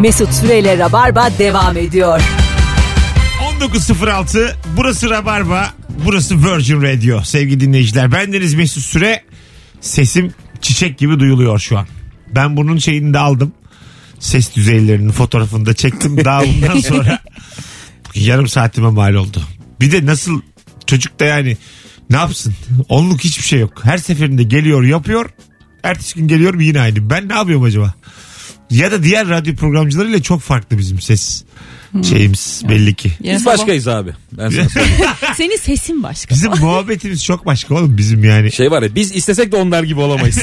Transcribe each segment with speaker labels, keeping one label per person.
Speaker 1: Mesut Süreyle Rabarba devam ediyor.
Speaker 2: 19.06 burası Rabarba burası Virgin Radio sevgili dinleyiciler. Bendeniz Mesut Süre sesim çiçek gibi duyuluyor şu an. Ben bunun şeyini de aldım. Ses düzeylerinin fotoğrafını da çektim. Daha bundan sonra yarım saatime mal oldu. Bir de nasıl çocuk da yani ne yapsın? Onluk hiçbir şey yok. Her seferinde geliyor yapıyor. Ertesi gün geliyorum yine aynı. Ben ne yapıyorum acaba? Ya da diğer radyo programcılarıyla çok farklı bizim ses şeyimiz belli ki.
Speaker 3: Biz başkayız abi. Ben sana söyleyeyim.
Speaker 4: Senin sesin başka.
Speaker 2: Bizim muhabbetimiz çok başka oğlum bizim yani.
Speaker 3: Şey var ya biz istesek de onlar gibi olamayız.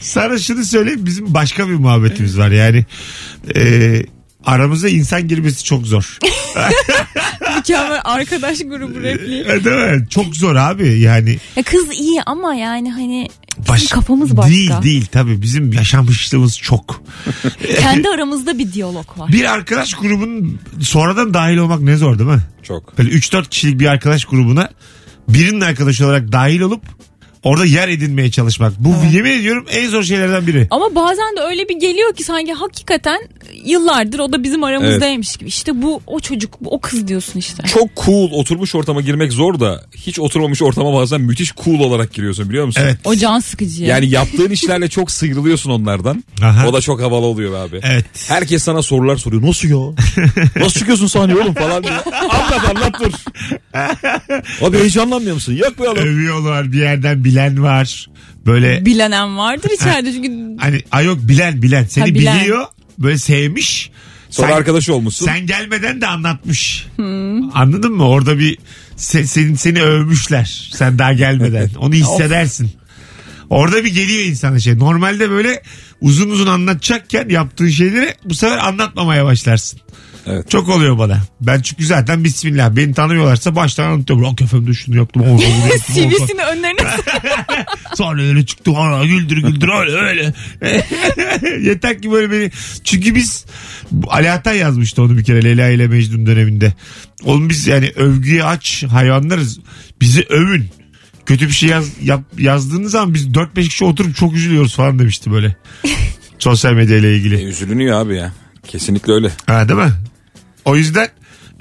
Speaker 2: Sana şunu söyleyeyim bizim başka bir muhabbetimiz var yani. Ee, aramıza insan girmesi çok zor.
Speaker 4: Mükemmel arkadaş grubu repliği.
Speaker 2: Değil mi? Çok zor abi yani.
Speaker 4: Ya E, kız iyi ama yani hani bizim
Speaker 2: Baş-
Speaker 4: kafamız başka.
Speaker 2: Değil değil tabii bizim yaşamışlığımız çok.
Speaker 4: Kendi aramızda bir diyalog var.
Speaker 2: Bir arkadaş grubunun sonradan dahil olmak ne zor değil mi?
Speaker 3: Çok.
Speaker 2: Böyle 3-4 kişilik bir arkadaş grubuna birinin arkadaşı olarak dahil olup orada yer edinmeye çalışmak. Bu yemin ediyorum en zor şeylerden biri.
Speaker 4: Ama bazen de öyle bir geliyor ki sanki hakikaten yıllardır o da bizim aramızdaymış gibi. İşte bu o çocuk, bu o kız diyorsun işte.
Speaker 3: Çok cool oturmuş ortama girmek zor da hiç oturmamış ortama bazen müthiş cool olarak giriyorsun biliyor musun?
Speaker 2: Evet.
Speaker 4: O can sıkıcı.
Speaker 3: Yani yaptığın işlerle çok sıyrılıyorsun onlardan.
Speaker 2: Aha.
Speaker 3: O da çok havalı oluyor abi.
Speaker 2: Evet.
Speaker 3: Herkes sana sorular soruyor. Nasıl ya? Nasıl çıkıyorsun sahneye oğlum falan diye. Anlat anlat dur. Abi heyecanlanmıyor musun? Yok be oğlum.
Speaker 2: Övüyorlar bir yerden bilen var. Böyle
Speaker 4: Bilenen vardır içeride çünkü
Speaker 2: Hani ay yok bilen bilen seni
Speaker 4: Ha, bilen.
Speaker 2: biliyor böyle sevmiş.
Speaker 3: Sonra
Speaker 2: sen,
Speaker 3: arkadaş olmuşsun.
Speaker 2: sen gelmeden de anlatmış. Anladın mı? Orada bir se- senin seni övmüşler. Sen daha gelmeden. Onu hissedersin. Orada bir geliyor insana şey. Normalde böyle uzun uzun anlatacakken yaptığın şeyleri bu sefer anlatmamaya başlarsın.
Speaker 3: Evet.
Speaker 2: Çok oluyor bana. Ben çünkü zaten bismillah beni tanıyorlarsa baştan anlatıyorum. Rock FM'de şunu yaptım. onu bunu yaptım, onu falan.
Speaker 4: CV'sini önlerine
Speaker 2: Sonra öyle çıktım ana güldür güldür öyle öyle. Yeter ki böyle beni. Çünkü biz bu Ali Atay yazmıştı onu bir kere Leyla ile Mecnun döneminde. Oğlum biz yani övgüye aç hayvanlarız. Bizi övün. Kötü bir şey yaz, yap, yazdığınız zaman biz 4-5 kişi oturup çok üzülüyoruz falan demişti böyle. Sosyal medya ile
Speaker 3: E,
Speaker 2: ilgili.
Speaker 3: üzülünüyor abi ya. Kesinlikle öyle.
Speaker 2: Ha değil mi? O yüzden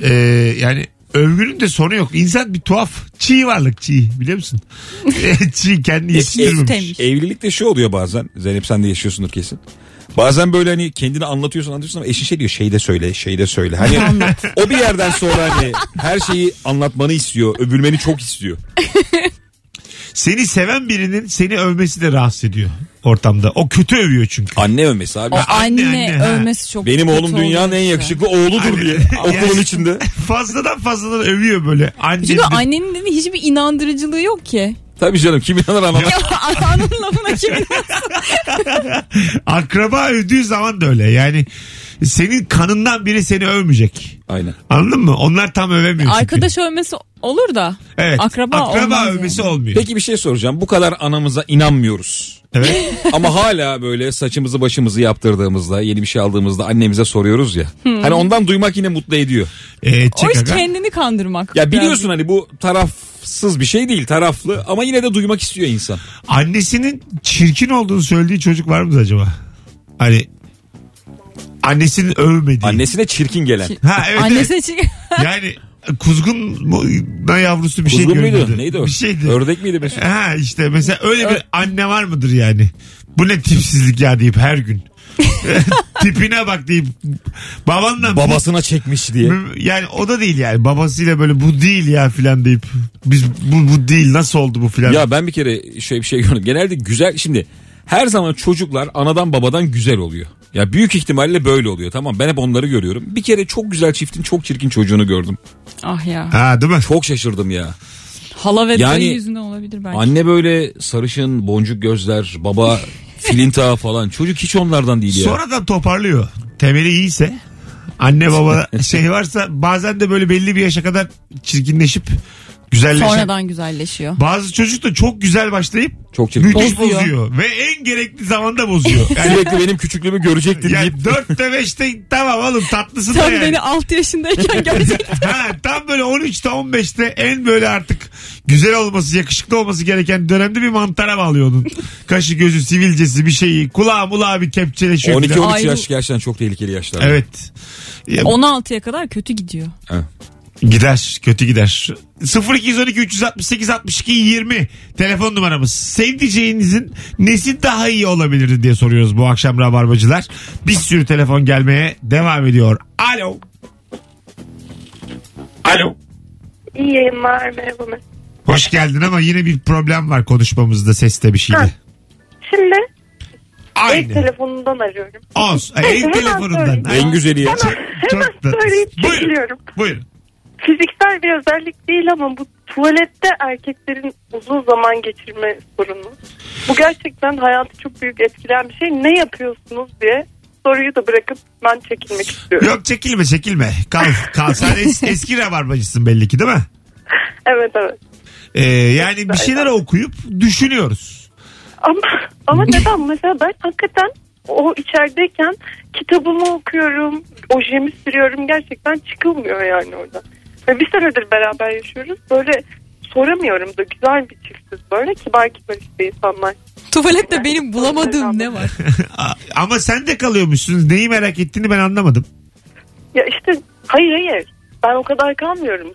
Speaker 2: e, yani övgünün de sonu yok. İnsan bir tuhaf. Çiğ varlık çiğ biliyor musun? çiğ kendi yetiştirmemiş.
Speaker 4: temiz.
Speaker 3: Evlilikte şu oluyor bazen. Zeynep sen de yaşıyorsundur kesin. Bazen böyle hani kendini anlatıyorsun anlatıyorsun ama eşin şey diyor şey de söyle şey de söyle. Hani o bir yerden sonra hani her şeyi anlatmanı istiyor. Övülmeni çok istiyor.
Speaker 2: Seni seven birinin seni övmesi de rahatsız ediyor ortamda. O kötü övüyor çünkü.
Speaker 3: Anne övmesi abi.
Speaker 4: O
Speaker 2: anne,
Speaker 4: anne,
Speaker 2: anne, ha.
Speaker 4: övmesi çok
Speaker 3: Benim
Speaker 4: kötü
Speaker 3: oğlum dünyanın
Speaker 4: oluyor
Speaker 3: en
Speaker 4: işte.
Speaker 3: yakışıklı oğludur diye. Okulun içinde.
Speaker 2: Fazladan fazladan övüyor böyle. Anne
Speaker 4: Çünkü annenin dediği hiçbir inandırıcılığı yok ki.
Speaker 3: Tabii canım kim inanır ama.
Speaker 4: Ya ananın lafına kim inanır?
Speaker 2: akraba övdüğü zaman da öyle. Yani senin kanından biri seni övmeyecek.
Speaker 3: Aynen.
Speaker 2: Anladın mı? Onlar tam övemiyor. çünkü.
Speaker 4: Arkadaş övmesi olur da.
Speaker 2: evet.
Speaker 4: akraba olmaz yani.
Speaker 2: övmesi olmuyor.
Speaker 3: Peki bir şey soracağım. Bu kadar anamıza inanmıyoruz.
Speaker 2: Evet.
Speaker 3: Ama hala böyle saçımızı başımızı yaptırdığımızda yeni bir şey aldığımızda annemize soruyoruz ya.
Speaker 4: Hmm.
Speaker 3: Hani ondan duymak yine mutlu ediyor.
Speaker 2: Ee,
Speaker 4: O
Speaker 2: çek
Speaker 4: iş
Speaker 2: aga.
Speaker 4: kendini kandırmak.
Speaker 3: Ya biliyorsun hani bu tarafsız bir şey değil taraflı ama yine de duymak istiyor insan.
Speaker 2: Annesinin çirkin olduğunu söylediği çocuk var mı acaba? Hani annesinin övmediği.
Speaker 3: Annesine çirkin gelen.
Speaker 2: Ha evet. evet.
Speaker 4: Annesine çık.
Speaker 2: Yani kuzgun mu- da yavrusu bir şey
Speaker 3: Kuzgun
Speaker 2: görüyordu.
Speaker 3: muydu? Neydi o?
Speaker 2: Bir şeydi.
Speaker 3: Ördek miydi Mesut?
Speaker 2: Ha işte mesela öyle bir anne var mıdır yani? Bu ne tipsizlik ya deyip her gün. Tipine bak deyip babanla
Speaker 3: Babasına çekmiş diye.
Speaker 2: yani o da değil yani babasıyla böyle bu değil ya filan deyip biz bu, bu değil nasıl oldu bu filan.
Speaker 3: Ya ben bir kere şey bir şey gördüm. Genelde güzel şimdi her zaman çocuklar anadan babadan güzel oluyor. Ya büyük ihtimalle böyle oluyor tamam ben hep onları görüyorum. Bir kere çok güzel çiftin çok çirkin çocuğunu gördüm.
Speaker 4: Ah ya.
Speaker 2: Ha değil mi?
Speaker 3: Çok şaşırdım ya.
Speaker 4: Hala ve
Speaker 3: Yani-
Speaker 4: dayı yüzünden olabilir belki.
Speaker 3: Anne böyle sarışın boncuk gözler baba filinta falan çocuk hiç onlardan değil ya.
Speaker 2: Sonradan toparlıyor. Temeli iyiyse anne baba şey varsa bazen de böyle belli bir yaşa kadar çirkinleşip Güzelleşen.
Speaker 4: Sonradan güzelleşiyor.
Speaker 2: Bazı çocuk da çok güzel başlayıp
Speaker 3: Çok çirkin.
Speaker 2: müthiş bozuyor.
Speaker 4: Bozuyor.
Speaker 2: Ve en gerekli zamanda bozuyor. Yani,
Speaker 3: Sürekli benim küçüklüğümü görecektin deyip
Speaker 2: yani 4'te 5'te tamam oğlum tatlısın da
Speaker 4: Sen
Speaker 2: yani.
Speaker 4: beni 6 yaşındayken görecektin.
Speaker 2: ha, tam böyle 13'te 15'te en böyle artık güzel olması yakışıklı olması gereken dönemde bir mantara bağlıyordun. Kaşı gözü sivilcesi bir şeyi kulağı mulağı bir kepçeleşiyor. falan.
Speaker 3: 12-13
Speaker 4: Ayrı-
Speaker 3: yaş gerçekten çok tehlikeli yaşlar.
Speaker 2: Evet. Ya,
Speaker 4: 16'ya kadar kötü gidiyor.
Speaker 2: Gider kötü gider. 0212 368 62 20 telefon numaramız. Sevdiceğinizin nesi daha iyi olabilir diye soruyoruz bu akşam rabarbacılar. Bir sürü telefon gelmeye devam ediyor. Alo. Alo.
Speaker 5: İyi yayınlar merhabalar.
Speaker 2: Hoş geldin ama yine bir problem var konuşmamızda seste bir şeyde.
Speaker 5: Ha. Şimdi ev
Speaker 2: Aynı.
Speaker 5: telefonundan arıyorum.
Speaker 2: Olsun. Ev
Speaker 5: Hemen
Speaker 2: telefonundan.
Speaker 5: söyleyeyim.
Speaker 2: Ay,
Speaker 3: En güzeli ya.
Speaker 5: Hemen
Speaker 2: Çok da.
Speaker 5: söyleyip
Speaker 2: Buyurun.
Speaker 5: çekiliyorum.
Speaker 2: Buyurun.
Speaker 5: Fiziksel bir özellik değil ama bu tuvalette erkeklerin uzun zaman geçirme sorunu. Bu gerçekten hayatı çok büyük etkileyen bir şey. Ne yapıyorsunuz diye soruyu da bırakıp ben çekilmek istiyorum.
Speaker 2: Yok çekilme çekilme. Kal. Kal. Sen es- eski rabarbacısın belli ki değil mi?
Speaker 5: Evet evet.
Speaker 2: Ee, yani bir şeyler okuyup düşünüyoruz.
Speaker 5: Ama, ama neden? Mesela ben hakikaten o içerideyken kitabımı okuyorum, ojemi sürüyorum. Gerçekten çıkılmıyor yani orada. Ve bir senedir beraber yaşıyoruz. Böyle soramıyorum da güzel bir çiftiz böyle kibar kibar işte insanlar.
Speaker 4: Tuvalette benim bulamadığım ne var?
Speaker 2: A- Ama sen de kalıyormuşsunuz. Neyi merak ettiğini ben anlamadım.
Speaker 5: Ya işte hayır hayır ben o kadar kalmıyorum.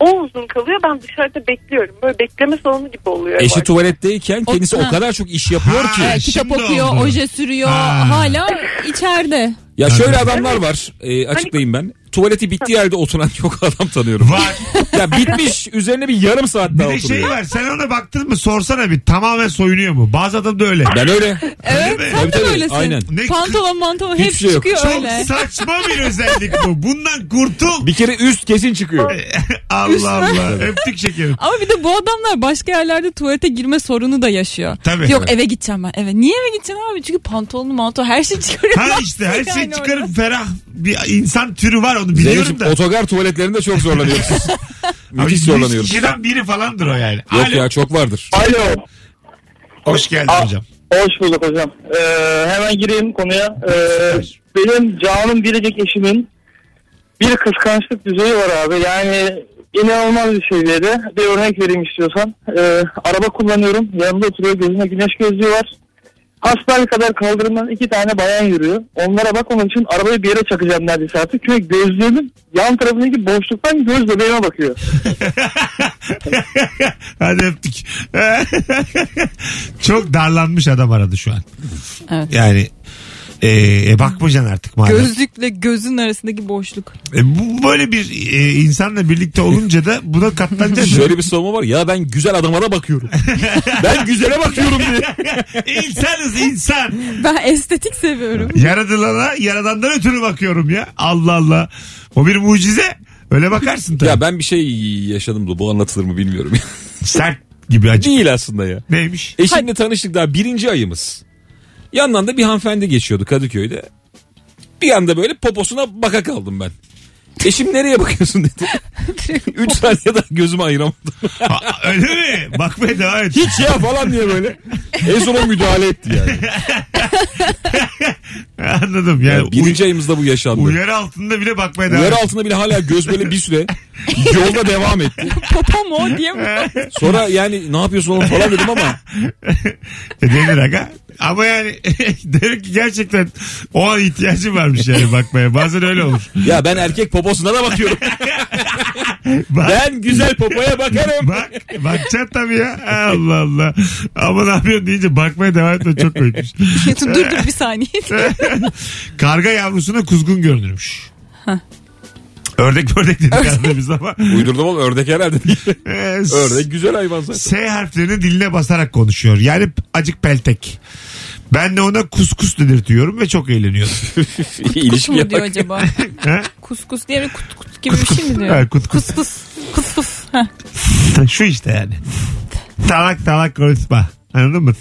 Speaker 5: O uzun kalıyor ben dışarıda bekliyorum. Böyle bekleme salonu gibi oluyor. ev
Speaker 3: Eşi
Speaker 5: artık.
Speaker 3: tuvaletteyken kendisi
Speaker 4: Ha.
Speaker 3: o kadar çok iş yapıyor ki.
Speaker 2: Ha,
Speaker 4: Evet, kitap
Speaker 2: şimdi
Speaker 4: okuyor,
Speaker 2: oldu.
Speaker 4: oje sürüyor.
Speaker 2: Ha.
Speaker 4: Hala içeride.
Speaker 3: Ya şöyle adamlar var.
Speaker 4: Hani-
Speaker 3: e, açıklayayım ben. Tuvaleti bittiği yerde oturan çok adam tanıyorum.
Speaker 2: Var.
Speaker 3: ya bitmiş üzerine bir yarım saat
Speaker 2: Bir
Speaker 3: daha
Speaker 2: de şey
Speaker 3: oturuyor.
Speaker 2: var. Sen ona baktın mı sorsana bir. Tamamen soyunuyor mu? Bazı adam da öyle.
Speaker 3: Ben öyle.
Speaker 4: Evet
Speaker 2: mi?
Speaker 4: sen
Speaker 3: Tabii,
Speaker 4: de
Speaker 3: tabii,
Speaker 4: böylesin.
Speaker 3: aynen.
Speaker 2: Ne-
Speaker 4: Pantolon mantolon
Speaker 3: Hiçbir
Speaker 4: hep
Speaker 3: şey yok.
Speaker 4: çıkıyor
Speaker 2: Çok
Speaker 4: öyle.
Speaker 2: saçma bir özellik bu. Bundan kurtul.
Speaker 3: Bir kere üst kesin
Speaker 2: E,
Speaker 3: çıkıyor.
Speaker 2: Allah Allah. Öptük şekerim.
Speaker 4: Ama bir de bu adamlar başka yerlerde tuvalete girme sorunu da yaşıyor.
Speaker 2: Tabii.
Speaker 4: Yok eve gideceğim ben eve. Niye eve gideceksin abi? Çünkü pantolonlu mantolon her şey çıkarıyor.
Speaker 2: Ha işte her şey
Speaker 4: Yani
Speaker 2: çıkarıp
Speaker 4: orada.
Speaker 2: ferah bir insan türü var onu biliyorum
Speaker 3: Zeynep'ciğim
Speaker 2: da.
Speaker 3: otogar tuvaletlerinde çok zorlanıyorsunuz.
Speaker 2: Abi
Speaker 3: Müthiş
Speaker 2: yüz
Speaker 3: zorlanıyoruz. Yok
Speaker 2: Kişiden biri falandır o yani. Alo.
Speaker 3: ya çok vardır.
Speaker 6: Alo.
Speaker 2: Hoş geldin
Speaker 6: Aa.
Speaker 2: hocam.
Speaker 6: Hoş bulduk hocam. Ee, hemen gireyim konuya. Ee, benim canım biricik eşimin bir kıskançlık düzeyi var abi. Yani inanılmaz bir seviyede. Bir örnek vereyim istiyorsan. Ee, araba kullanıyorum. Yanımda oturuyor. Gözüne güneş gözlüğü var. Hasbel kadar kaldırımdan iki tane bayan yürüyor. Onlara bakmamak için arabayı bir yere çakacağım neredeyse artık. Çünkü gözlüğümün yan tarafındaki boşluktan göz bebeğime bakıyor.
Speaker 2: Hadi öptük. Çok darlanmış adam aradı şu an.
Speaker 4: Evet.
Speaker 2: Yani e, e, bakmayacaksın artık madem.
Speaker 4: Gözlükle gözün arasındaki boşluk.
Speaker 2: E, bu böyle bir e, insanla birlikte olunca da buna katlanacaksın.
Speaker 3: Şöyle bir savunma var. Ya ben güzel adama da bakıyorum. ben güzele bakıyorum diye.
Speaker 2: İnsanız insan.
Speaker 4: Ben estetik seviyorum.
Speaker 2: Yaradılana yaradandan ötürü bakıyorum ya. Allah Allah. O bir mucize. Öyle bakarsın tabii.
Speaker 3: Ya ben bir şey yaşadım da bu anlatılır mı bilmiyorum.
Speaker 2: Sert gibi acı.
Speaker 3: Değil aslında ya.
Speaker 2: Neymiş?
Speaker 3: Eşimle tanıştık daha birinci ayımız. Yandan da bir hanımefendi geçiyordu Kadıköy'de. Bir anda böyle poposuna baka kaldım ben. Eşim nereye bakıyorsun dedi. Üç saniye daha gözümü ayıramadım.
Speaker 2: Ha, Öyle mi? Bakmaya devam et.
Speaker 3: Hiç ya falan diye böyle. En son o müdahale etti yani.
Speaker 2: Anladım. Yani,
Speaker 3: yani birinci ayımızda bu yaşandı.
Speaker 2: uy- uyarı altında bile bakmaya devam
Speaker 3: Yer
Speaker 2: et.
Speaker 3: altında bile hala göz böyle bir süre yolda devam etti.
Speaker 4: Popo mu o diye mi?
Speaker 3: Sonra yani ne yapıyorsun oğlum falan dedim ama
Speaker 2: E, Denir aga. Ama yani derim ki gerçekten o an ihtiyacım varmış yani bakmaya. Bazen öyle olur.
Speaker 3: ya ben erkek poposuna da bakıyorum.
Speaker 2: Bak,
Speaker 3: Ben güzel popoya bakarım.
Speaker 2: bak, bakacaksın tabii ya. Allah Allah. Ama ne yapıyorsun deyince bakmaya devam etme çok koymuş.
Speaker 4: dur dur bir saniye.
Speaker 2: Karga yavrusuna kuzgun görünürmüş. Ördek ördek dedik aslında biz ama.
Speaker 3: Uydurdum oğlum ördek herhalde değil.
Speaker 2: Ee,
Speaker 3: Ördek güzel hayvan zaten.
Speaker 2: S harflerini diline basarak konuşuyor. Yani acık peltek. Ben de ona kuskus dedirtiyorum ve çok eğleniyorum.
Speaker 4: Kus
Speaker 3: İlişki
Speaker 4: mu diyor
Speaker 3: yapak.
Speaker 4: acaba?
Speaker 2: Ha?
Speaker 4: Kuskus diye bir kut kut gibi bir şey mi diyor?
Speaker 2: Ha, kut kut.
Speaker 4: Kuskus. Kuskus. Heh.
Speaker 2: Şu işte yani. Talak talak konuşma. Anladın mı?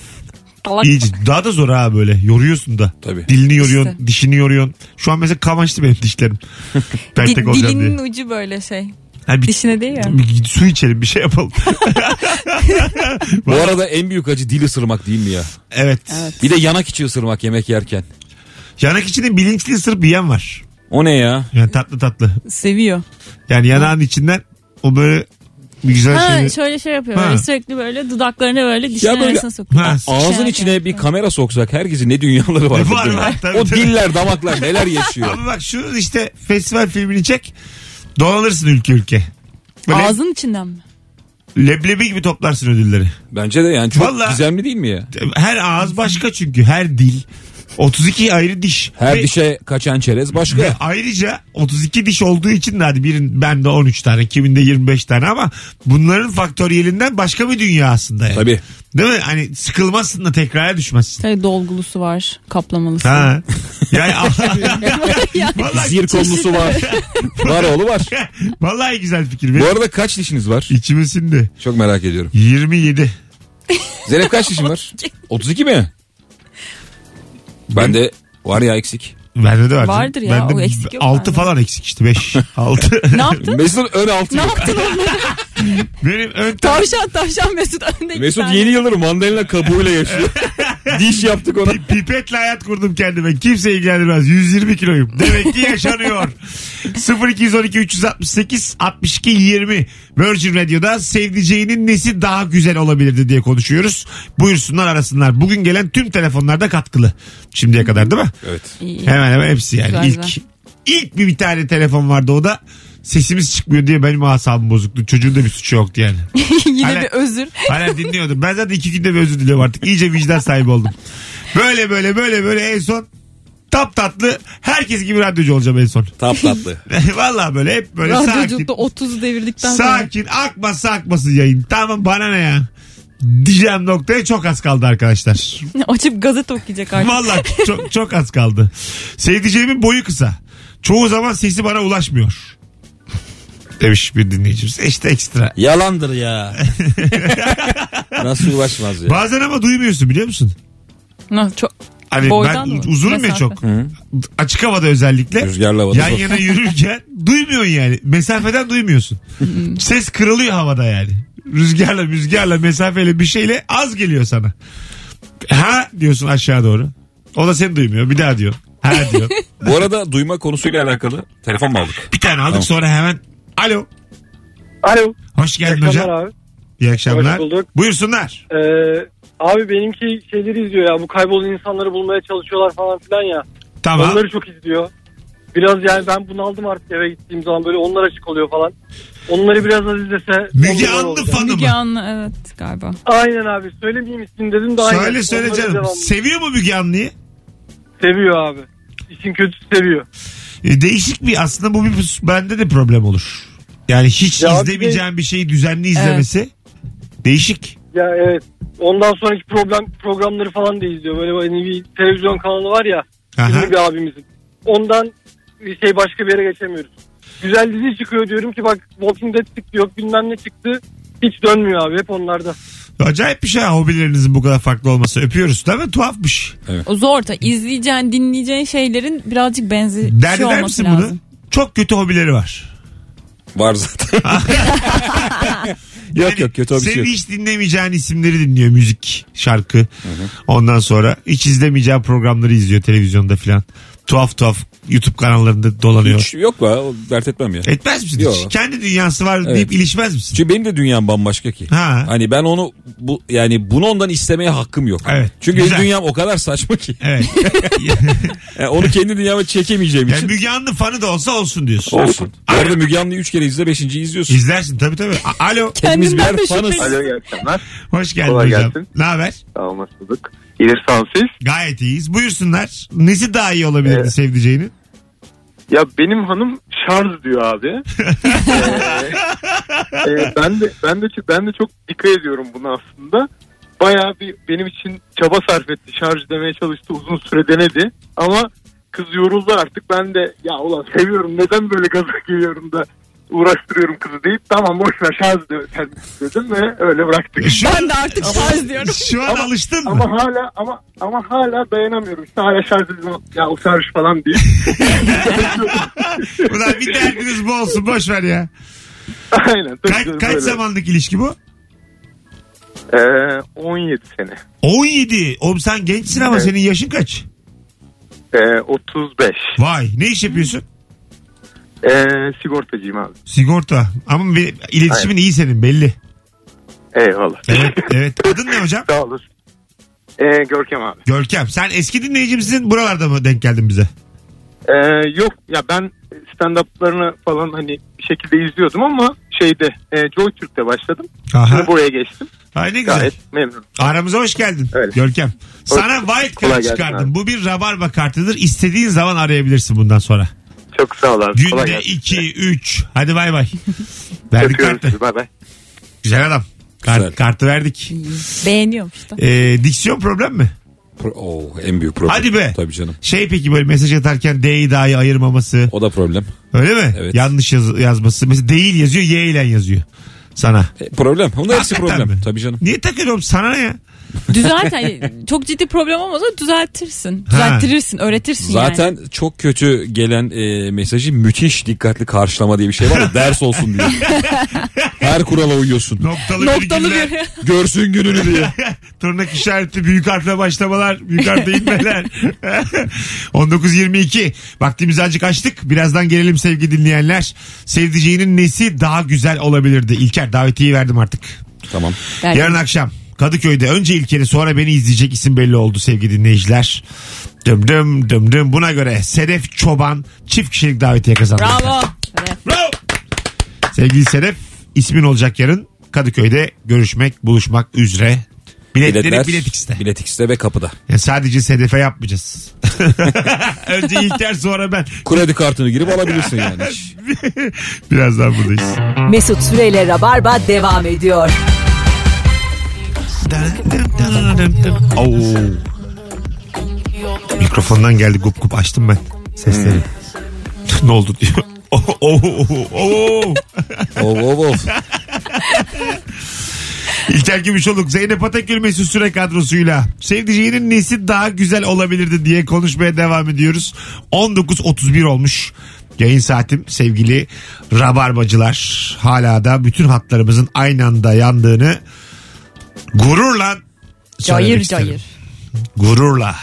Speaker 4: Salak.
Speaker 2: İyice. Daha da zor ha böyle. Yoruyorsun da.
Speaker 3: Tabii.
Speaker 2: Dilini yoruyorsun,
Speaker 4: İşte.
Speaker 2: dişini yoruyorsun. Şu an mesela kamaştı benim dişlerim.
Speaker 4: Di-
Speaker 2: Peltek olacağım diye.
Speaker 4: dilinin ucu böyle şey.
Speaker 2: Ha, bir,
Speaker 4: Dişine değil ya.
Speaker 2: bir su içelim bir şey yapalım.
Speaker 3: Bu arada en büyük acı dil ısırmak değil mi ya?
Speaker 2: evet.
Speaker 3: Bir de yanak içi ısırmak yemek yerken.
Speaker 2: Yanak içinde bilinçli ısırıp yiyen var.
Speaker 3: O ne ya?
Speaker 2: Yani tatlı tatlı.
Speaker 4: Seviyor.
Speaker 2: Yani yanağın içinden o böyle bir güzel
Speaker 4: Ha,
Speaker 2: şey.
Speaker 4: şöyle şey yapıyor.
Speaker 2: Ha.
Speaker 4: Böyle sürekli böyle dudaklarını böyle dişinin
Speaker 3: böyle-
Speaker 4: arasına sokuyor.
Speaker 2: Ha,
Speaker 3: Ağzın
Speaker 4: Şey
Speaker 3: içine bir kamera soksak herkesin ne dünyaları var.
Speaker 2: Var, var, tabii,
Speaker 3: o
Speaker 2: tabii.
Speaker 3: diller damaklar neler yaşıyor.
Speaker 2: Ama bak şunu işte festival filmini çek. Dolanırsın ülke ülke. Böyle
Speaker 4: Ağzın içinden mi?
Speaker 2: leblebi gibi toplarsın ödülleri.
Speaker 3: Bence de yani çok
Speaker 2: Vallahi-
Speaker 3: gizemli değil mi ya?
Speaker 2: Her ağız başka çünkü her dil. 32 ayrı diş.
Speaker 3: Her
Speaker 2: Ve-
Speaker 3: dişe kaçan çerez
Speaker 2: Ve
Speaker 3: başka.
Speaker 2: ayrıca 32 diş olduğu için de hadi birin bende 13 tane kiminde 25 tane ama bunların faktöriyelinden başka bir dünya aslında yani.
Speaker 3: Tabii.
Speaker 2: Değil mi? Hani sıkılmazsın da tekrara düşmezsin.
Speaker 4: Tabii Şey, dolgulusu var. Kaplamalısı.
Speaker 2: Ha. Yani vallahi,
Speaker 3: Zirkonlusu var. var oğlu var.
Speaker 2: vallahi güzel fikir.
Speaker 3: Bu
Speaker 2: Benim
Speaker 3: arada kaç dişiniz var?
Speaker 2: İçime sindi.
Speaker 3: Çok merak ediyorum.
Speaker 2: 27.
Speaker 3: Zeynep kaç dişin var? 32 mi? Ben de var ya eksik.
Speaker 2: Bende de var.
Speaker 4: Vardır ya,
Speaker 2: Bende
Speaker 4: o eksik yok
Speaker 2: 6
Speaker 4: bende.
Speaker 2: falan eksik işte 5. 6.
Speaker 4: Ne yaptın?
Speaker 3: Mesut ön altı.
Speaker 4: ne
Speaker 3: yok.
Speaker 4: yaptın onları?
Speaker 2: Benim ön taraf
Speaker 4: Tavşan tavşan Mesut önde
Speaker 3: Mesut yeni yılları mandalina kabuğuyla yaşıyor. Diş yaptık ona.
Speaker 2: pipetle hayat kurdum kendime. Kimse ilgilendirmez. 120 kiloyum. Demek ki yaşanıyor. 0212 368 62 20 Virgin Radio'da sevdiceğinin nesi daha güzel olabilirdi diye konuşuyoruz. Buyursunlar arasınlar. Bugün gelen tüm telefonlarda katkılı. Şimdiye kadar değil mi?
Speaker 3: Evet.
Speaker 2: Hemen hemen hepsi yani.
Speaker 4: Güzel,
Speaker 2: ilk,
Speaker 4: güzel.
Speaker 2: ilk bir, bir tane telefon vardı o da sesimiz çıkmıyor diye benim asabım bozuktu. Çocuğun da bir suçu yoktu yani.
Speaker 4: Yine
Speaker 2: Hala-
Speaker 4: bir özür.
Speaker 2: Hala dinliyordum. Ben zaten iki günde bir özür diliyorum artık. İyice vicdan sahibi oldum. Böyle böyle böyle böyle en son tap tatlı herkes gibi radyocu olacağım en son.
Speaker 3: Tap tatlı.
Speaker 2: Vallahi böyle hep böyle sakin.
Speaker 4: Radyoculukta 30 devirdikten sonra.
Speaker 2: Sakin akmasa akmasın yayın. Tamam bana ne ya. Diyeceğim noktaya çok az kaldı arkadaşlar.
Speaker 4: Açıp gazete okuyacak artık.
Speaker 2: Vallahi çok, çok az kaldı. Sevdiceğimin boyu kısa. Çoğu zaman sesi bana ulaşmıyor. Demiş bir dinleyicimiz. İşte ekstra.
Speaker 3: Yalandır ya. Nasıl ulaşmaz ya?
Speaker 2: Bazen ama duymuyorsun biliyor musun?
Speaker 4: Nah, çok
Speaker 2: Hani
Speaker 4: Boydan
Speaker 2: ben
Speaker 4: mı?
Speaker 2: uzunum ya
Speaker 4: Mesafe.
Speaker 2: çok. Açık havada özellikle.
Speaker 3: Rüzgarla havada
Speaker 2: Yan
Speaker 3: zor.
Speaker 2: yana yürürken duymuyorsun yani. Mesafeden duymuyorsun. Ses kırılıyor havada yani. Rüzgarla rüzgarla mesafeyle bir şeyle az geliyor sana. Ha diyorsun aşağı doğru. O da seni duymuyor. Bir daha diyor. Ha diyor.
Speaker 3: Bu arada duyma konusuyla alakalı telefon mu aldık?
Speaker 2: bir tane aldık sonra hemen. Alo.
Speaker 6: Alo.
Speaker 2: Hoş geldin
Speaker 6: iyi
Speaker 2: hocam.
Speaker 6: akşamlar abi.
Speaker 2: İyi akşamlar.
Speaker 6: Hoş bulduk.
Speaker 2: Buyursunlar.
Speaker 6: Ee, abi benimki şeyleri izliyor ya. Bu kaybolan insanları bulmaya çalışıyorlar falan filan ya.
Speaker 2: Tamam.
Speaker 6: Onları çok izliyor. Biraz yani ben bunaldım artık eve gittiğim zaman böyle onlar açık oluyor falan. Onları biraz az izlese.
Speaker 2: Müge
Speaker 6: on numara
Speaker 2: Anlı
Speaker 6: olacak.
Speaker 2: fanı
Speaker 4: Müge
Speaker 2: mı?
Speaker 4: Anlı evet galiba.
Speaker 6: Aynen abi söylemeyeyim ismini dedim de aynen.
Speaker 2: Söyle söyle
Speaker 6: Onlara
Speaker 2: canım.
Speaker 6: devam.
Speaker 2: Seviyor mu Müge Anlı'yı?
Speaker 6: Seviyor abi. İşin kötüsü seviyor.
Speaker 2: E, değişik bir aslında bu bir bende de problem olur. Yani hiç
Speaker 6: Ya bir de-
Speaker 2: izlemeyeceğim bir şeyi düzenli izlemesi değişik.
Speaker 6: Ya evet. Ondan sonraki problem programları falan da izliyor. Böyle hani bir televizyon kanalı var ya.
Speaker 2: Aha.
Speaker 6: Bizim bir abimizin. Ondan bir şey başka bir yere geçemiyoruz. Güzel dizi çıkıyor diyorum ki bak Walking Dead çıktı yok bilmem ne çıktı. Hiç dönmüyor abi hep onlarda.
Speaker 2: Acayip bir şey ha, hobilerinizin bu kadar farklı olması. Öpüyoruz değil mi? Tuhafmış.
Speaker 4: O zor da izleyeceğin dinleyeceğin şeylerin birazcık benzi
Speaker 2: Dert
Speaker 4: şey
Speaker 2: eder
Speaker 4: olması
Speaker 2: misin
Speaker 4: lazım.
Speaker 2: bunu? Çok kötü hobileri var.
Speaker 3: Var zaten. yok
Speaker 2: Yani
Speaker 3: yok kötü bir şey
Speaker 2: Senin
Speaker 3: yok.
Speaker 2: Hani hiç dinlemeyeceğin isimleri dinliyor müzik, şarkı. Ondan sonra hiç izlemeyeceğin programları izliyor televizyonda filan. Tuhaf tuhaf YouTube kanallarında dolanıyor.
Speaker 3: Hiç yok be o dert etmem ya.
Speaker 2: Etmez misin
Speaker 3: Yok.
Speaker 2: hiç? Kendi dünyası var
Speaker 3: Evet.
Speaker 2: deyip ilişmez misin?
Speaker 3: Çünkü benim de dünyam bambaşka ki.
Speaker 2: Ha.
Speaker 3: Hani ben onu bu yani bunu ondan istemeye hakkım yok.
Speaker 2: Evet.
Speaker 3: Çünkü benim
Speaker 2: Güzel.
Speaker 3: dünyam o kadar saçma ki.
Speaker 2: Evet.
Speaker 3: Yani onu kendi dünyama çekemeyeceğim
Speaker 2: yani
Speaker 3: için.
Speaker 2: Müge Anlı fanı da olsa olsun diyorsun.
Speaker 3: Olsun. Bu arada Müge Anlı'yı 3 kere izle 5. izliyorsun.
Speaker 2: İzlersin tabii tabii. A- Alo.
Speaker 3: Hepimiz
Speaker 4: Kendimden de
Speaker 3: fanız.
Speaker 4: şüpheliyim.
Speaker 7: Alo iyi akşamlar.
Speaker 2: Hoş geldin
Speaker 7: Kolay
Speaker 2: hocam.
Speaker 7: gelsin.
Speaker 2: Ne haber?
Speaker 7: Sağ olun, hoş bulduk. İyidir sağ olun siz.
Speaker 2: Gayet iyiyiz. Buyursunlar. Nesi daha iyi olabilirdi
Speaker 7: Evet.
Speaker 2: sevdiceğinin?
Speaker 7: Ya benim hanım şarj diyor abi. Ee, e, ben de ben de çok- ben de çok dikkat ediyorum buna aslında. Bayağı bir benim için çaba sarf etti. Şarj demeye çalıştı. Uzun süre denedi. Ama kız yoruldu artık. Ben de ya ulan seviyorum. Neden böyle gaza geliyorum da uğraştırıyorum kızı deyip tamam boş ver şarj de, sen dedim ve öyle bıraktık.
Speaker 2: Şu an,
Speaker 4: Ben de artık şarj diyorum.
Speaker 2: şu an
Speaker 7: Ama-
Speaker 2: alıştın mı?
Speaker 7: Ama hala ama ama hala dayanamıyorum. İşte hala şarj ediyorum. Ya o şarj falan diye.
Speaker 2: Ulan bir derdiniz bu olsun boş ver ya.
Speaker 7: Aynen. tabii
Speaker 2: Kaç,
Speaker 7: canım,
Speaker 2: kaç
Speaker 7: böyle.
Speaker 2: zamanlık ilişki bu?
Speaker 7: Ee, 17 sene.
Speaker 2: 17. Oğlum sen gençsin ama
Speaker 7: Evet.
Speaker 2: senin yaşın kaç?
Speaker 7: Ee, 35.
Speaker 2: Vay ne iş yapıyorsun?
Speaker 7: Ee, sigortacıyım abi.
Speaker 2: Sigorta. Ama bir, iletişimin iyi senin belli.
Speaker 7: Eyvallah.
Speaker 2: Evet evet. Adın ne hocam?
Speaker 7: Sağ olasın. Ee, Görkem abi.
Speaker 2: Görkem. Sen eski dinleyicimizin buralarda mı denk geldin bize?
Speaker 7: Ee, yok ya ben stand-up'larını falan hani bir şekilde izliyordum ama şeyde e, Joy Türk'te başladım.
Speaker 2: Aha.
Speaker 7: Şimdi buraya geçtim.
Speaker 2: Ay ne güzel.
Speaker 7: Gayet memnun.
Speaker 2: Aramıza hoş geldin
Speaker 7: Öyle.
Speaker 2: Görkem. Sana wild card
Speaker 7: Kolay gelsin
Speaker 2: çıkardım.
Speaker 7: abi.
Speaker 2: Bu bir rabarba kartıdır. İstediğin zaman arayabilirsin bundan sonra.
Speaker 7: Çok sağ ol abi. Kolay
Speaker 2: Günde
Speaker 7: gelsin.
Speaker 2: 2, 3. Hadi bay bay. Verdik
Speaker 7: Öpüyorum
Speaker 2: kartı.
Speaker 7: sizi. Bay bay.
Speaker 2: Güzel adam. Kart-
Speaker 3: Güzel.
Speaker 2: Kartı verdik.
Speaker 4: Beğeniyorum işte.
Speaker 2: Ee, diksiyon problem mi?
Speaker 3: Pro- Oo, en büyük problem.
Speaker 2: Hadi be.
Speaker 3: Tabii canım.
Speaker 2: Şey peki böyle mesaj atarken D'yi dahi ayırmaması.
Speaker 3: O da problem.
Speaker 2: Öyle mi?
Speaker 3: Evet.
Speaker 2: Yanlış yaz- yazması. Mesela değil yazıyor Y ile yazıyor. Sana.
Speaker 3: E, problem. Bunlar hepsi
Speaker 2: Hakikaten
Speaker 3: problem.
Speaker 2: mi?
Speaker 3: Tabii canım.
Speaker 2: Niye takıyorsun oğlum? sana ne ya?
Speaker 4: Düzelt hani çok ciddi problem olmasa düzeltirsin. Düzelttirirsin, öğretirsin yani.
Speaker 3: Zaten çok kötü gelen e, mesajı müthiş dikkatli karşılama diye bir şey var ya ders olsun diye. Her kurala uyuyorsun.
Speaker 2: Noktalı,
Speaker 4: Noktalı
Speaker 2: virgüller,
Speaker 4: bir.
Speaker 3: Görsün gününü diye.
Speaker 2: Tırnak işareti büyük harfle başlamalar, büyük harfle inmeler. 19.22. Vaktimizi azıcık açtık. Birazdan gelelim sevgili dinleyenler. Sevdiceğinin nesi daha güzel olabilirdi? İlker davetiyi verdim artık.
Speaker 3: tamam.
Speaker 4: Yani
Speaker 2: Yarın akşam Kadıköy'de önce İlker'i sonra beni izleyecek isim belli oldu sevgili dinleyiciler. Dım dım dım dım. Buna göre Sedef Çoban çift kişilik davetiye kazandı.
Speaker 4: Bravo.
Speaker 2: Bravo. Sevgili Sedef ismin olacak yarın Kadıköy'de görüşmek buluşmak üzere. Biletleri
Speaker 3: Biletler,
Speaker 2: Bilet X'te.
Speaker 3: Bilet X'te ve kapıda.
Speaker 2: Yani sadece Sedef'e yapmayacağız. Önce İlker sonra ben.
Speaker 3: Kredi kartını girip alabilirsin yani.
Speaker 2: Birazdan buradayız.
Speaker 1: Mesut Süreyle Rabarba devam ediyor.
Speaker 2: Oo. Mikrofondan geldi gup gup açtım ben sesleri. ne oldu diyor. Oo, oo, oo, oo.
Speaker 3: Ov ov ov.
Speaker 2: İlker Gümüşoluk, Zeynep Atakül Mesut Süre kadrosuyla sevdiceğinin nesi daha güzel olabilirdi diye konuşmaya devam ediyoruz. 19.31 olmuş yayın saatim sevgili rabarbacılar. Hala da bütün hatlarımızın aynı anda yandığını gururla söylemek
Speaker 4: Cayır
Speaker 2: isterim.
Speaker 4: cayır.
Speaker 2: Gururla.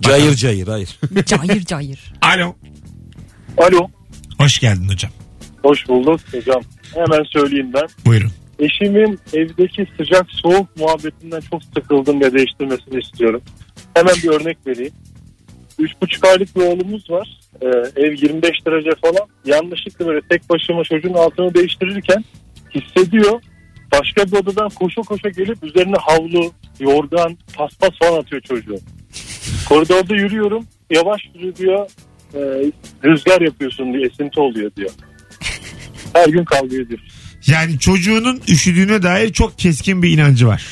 Speaker 3: Cayır cayır hayır.
Speaker 4: Cayır cayır.
Speaker 2: Alo.
Speaker 8: Alo.
Speaker 2: Hoş geldin hocam.
Speaker 8: Hoş bulduk hocam. Hemen söyleyeyim ben.
Speaker 2: Buyurun.
Speaker 8: Eşimin evdeki sıcak soğuk muhabbetinden çok sıkıldım ve değiştirmesini istiyorum. Hemen bir örnek vereyim. 3,5 aylık bir oğlumuz var. Ee, ev 25 derece falan. Yanlışlıkla böyle tek başıma çocuğun altını değiştirirken hissediyor. Başka bir odadan koşa koşa gelip üzerine havlu, yorgan, paspas falan atıyor çocuğu. Koridorda yürüyorum. Yavaş yürü diyor. Ee, rüzgar yapıyorsun diyor. Esinti oluyor diyor. Her gün kavga ediyor.
Speaker 2: Yani çocuğunun üşüdüğüne dair çok keskin bir inancı var.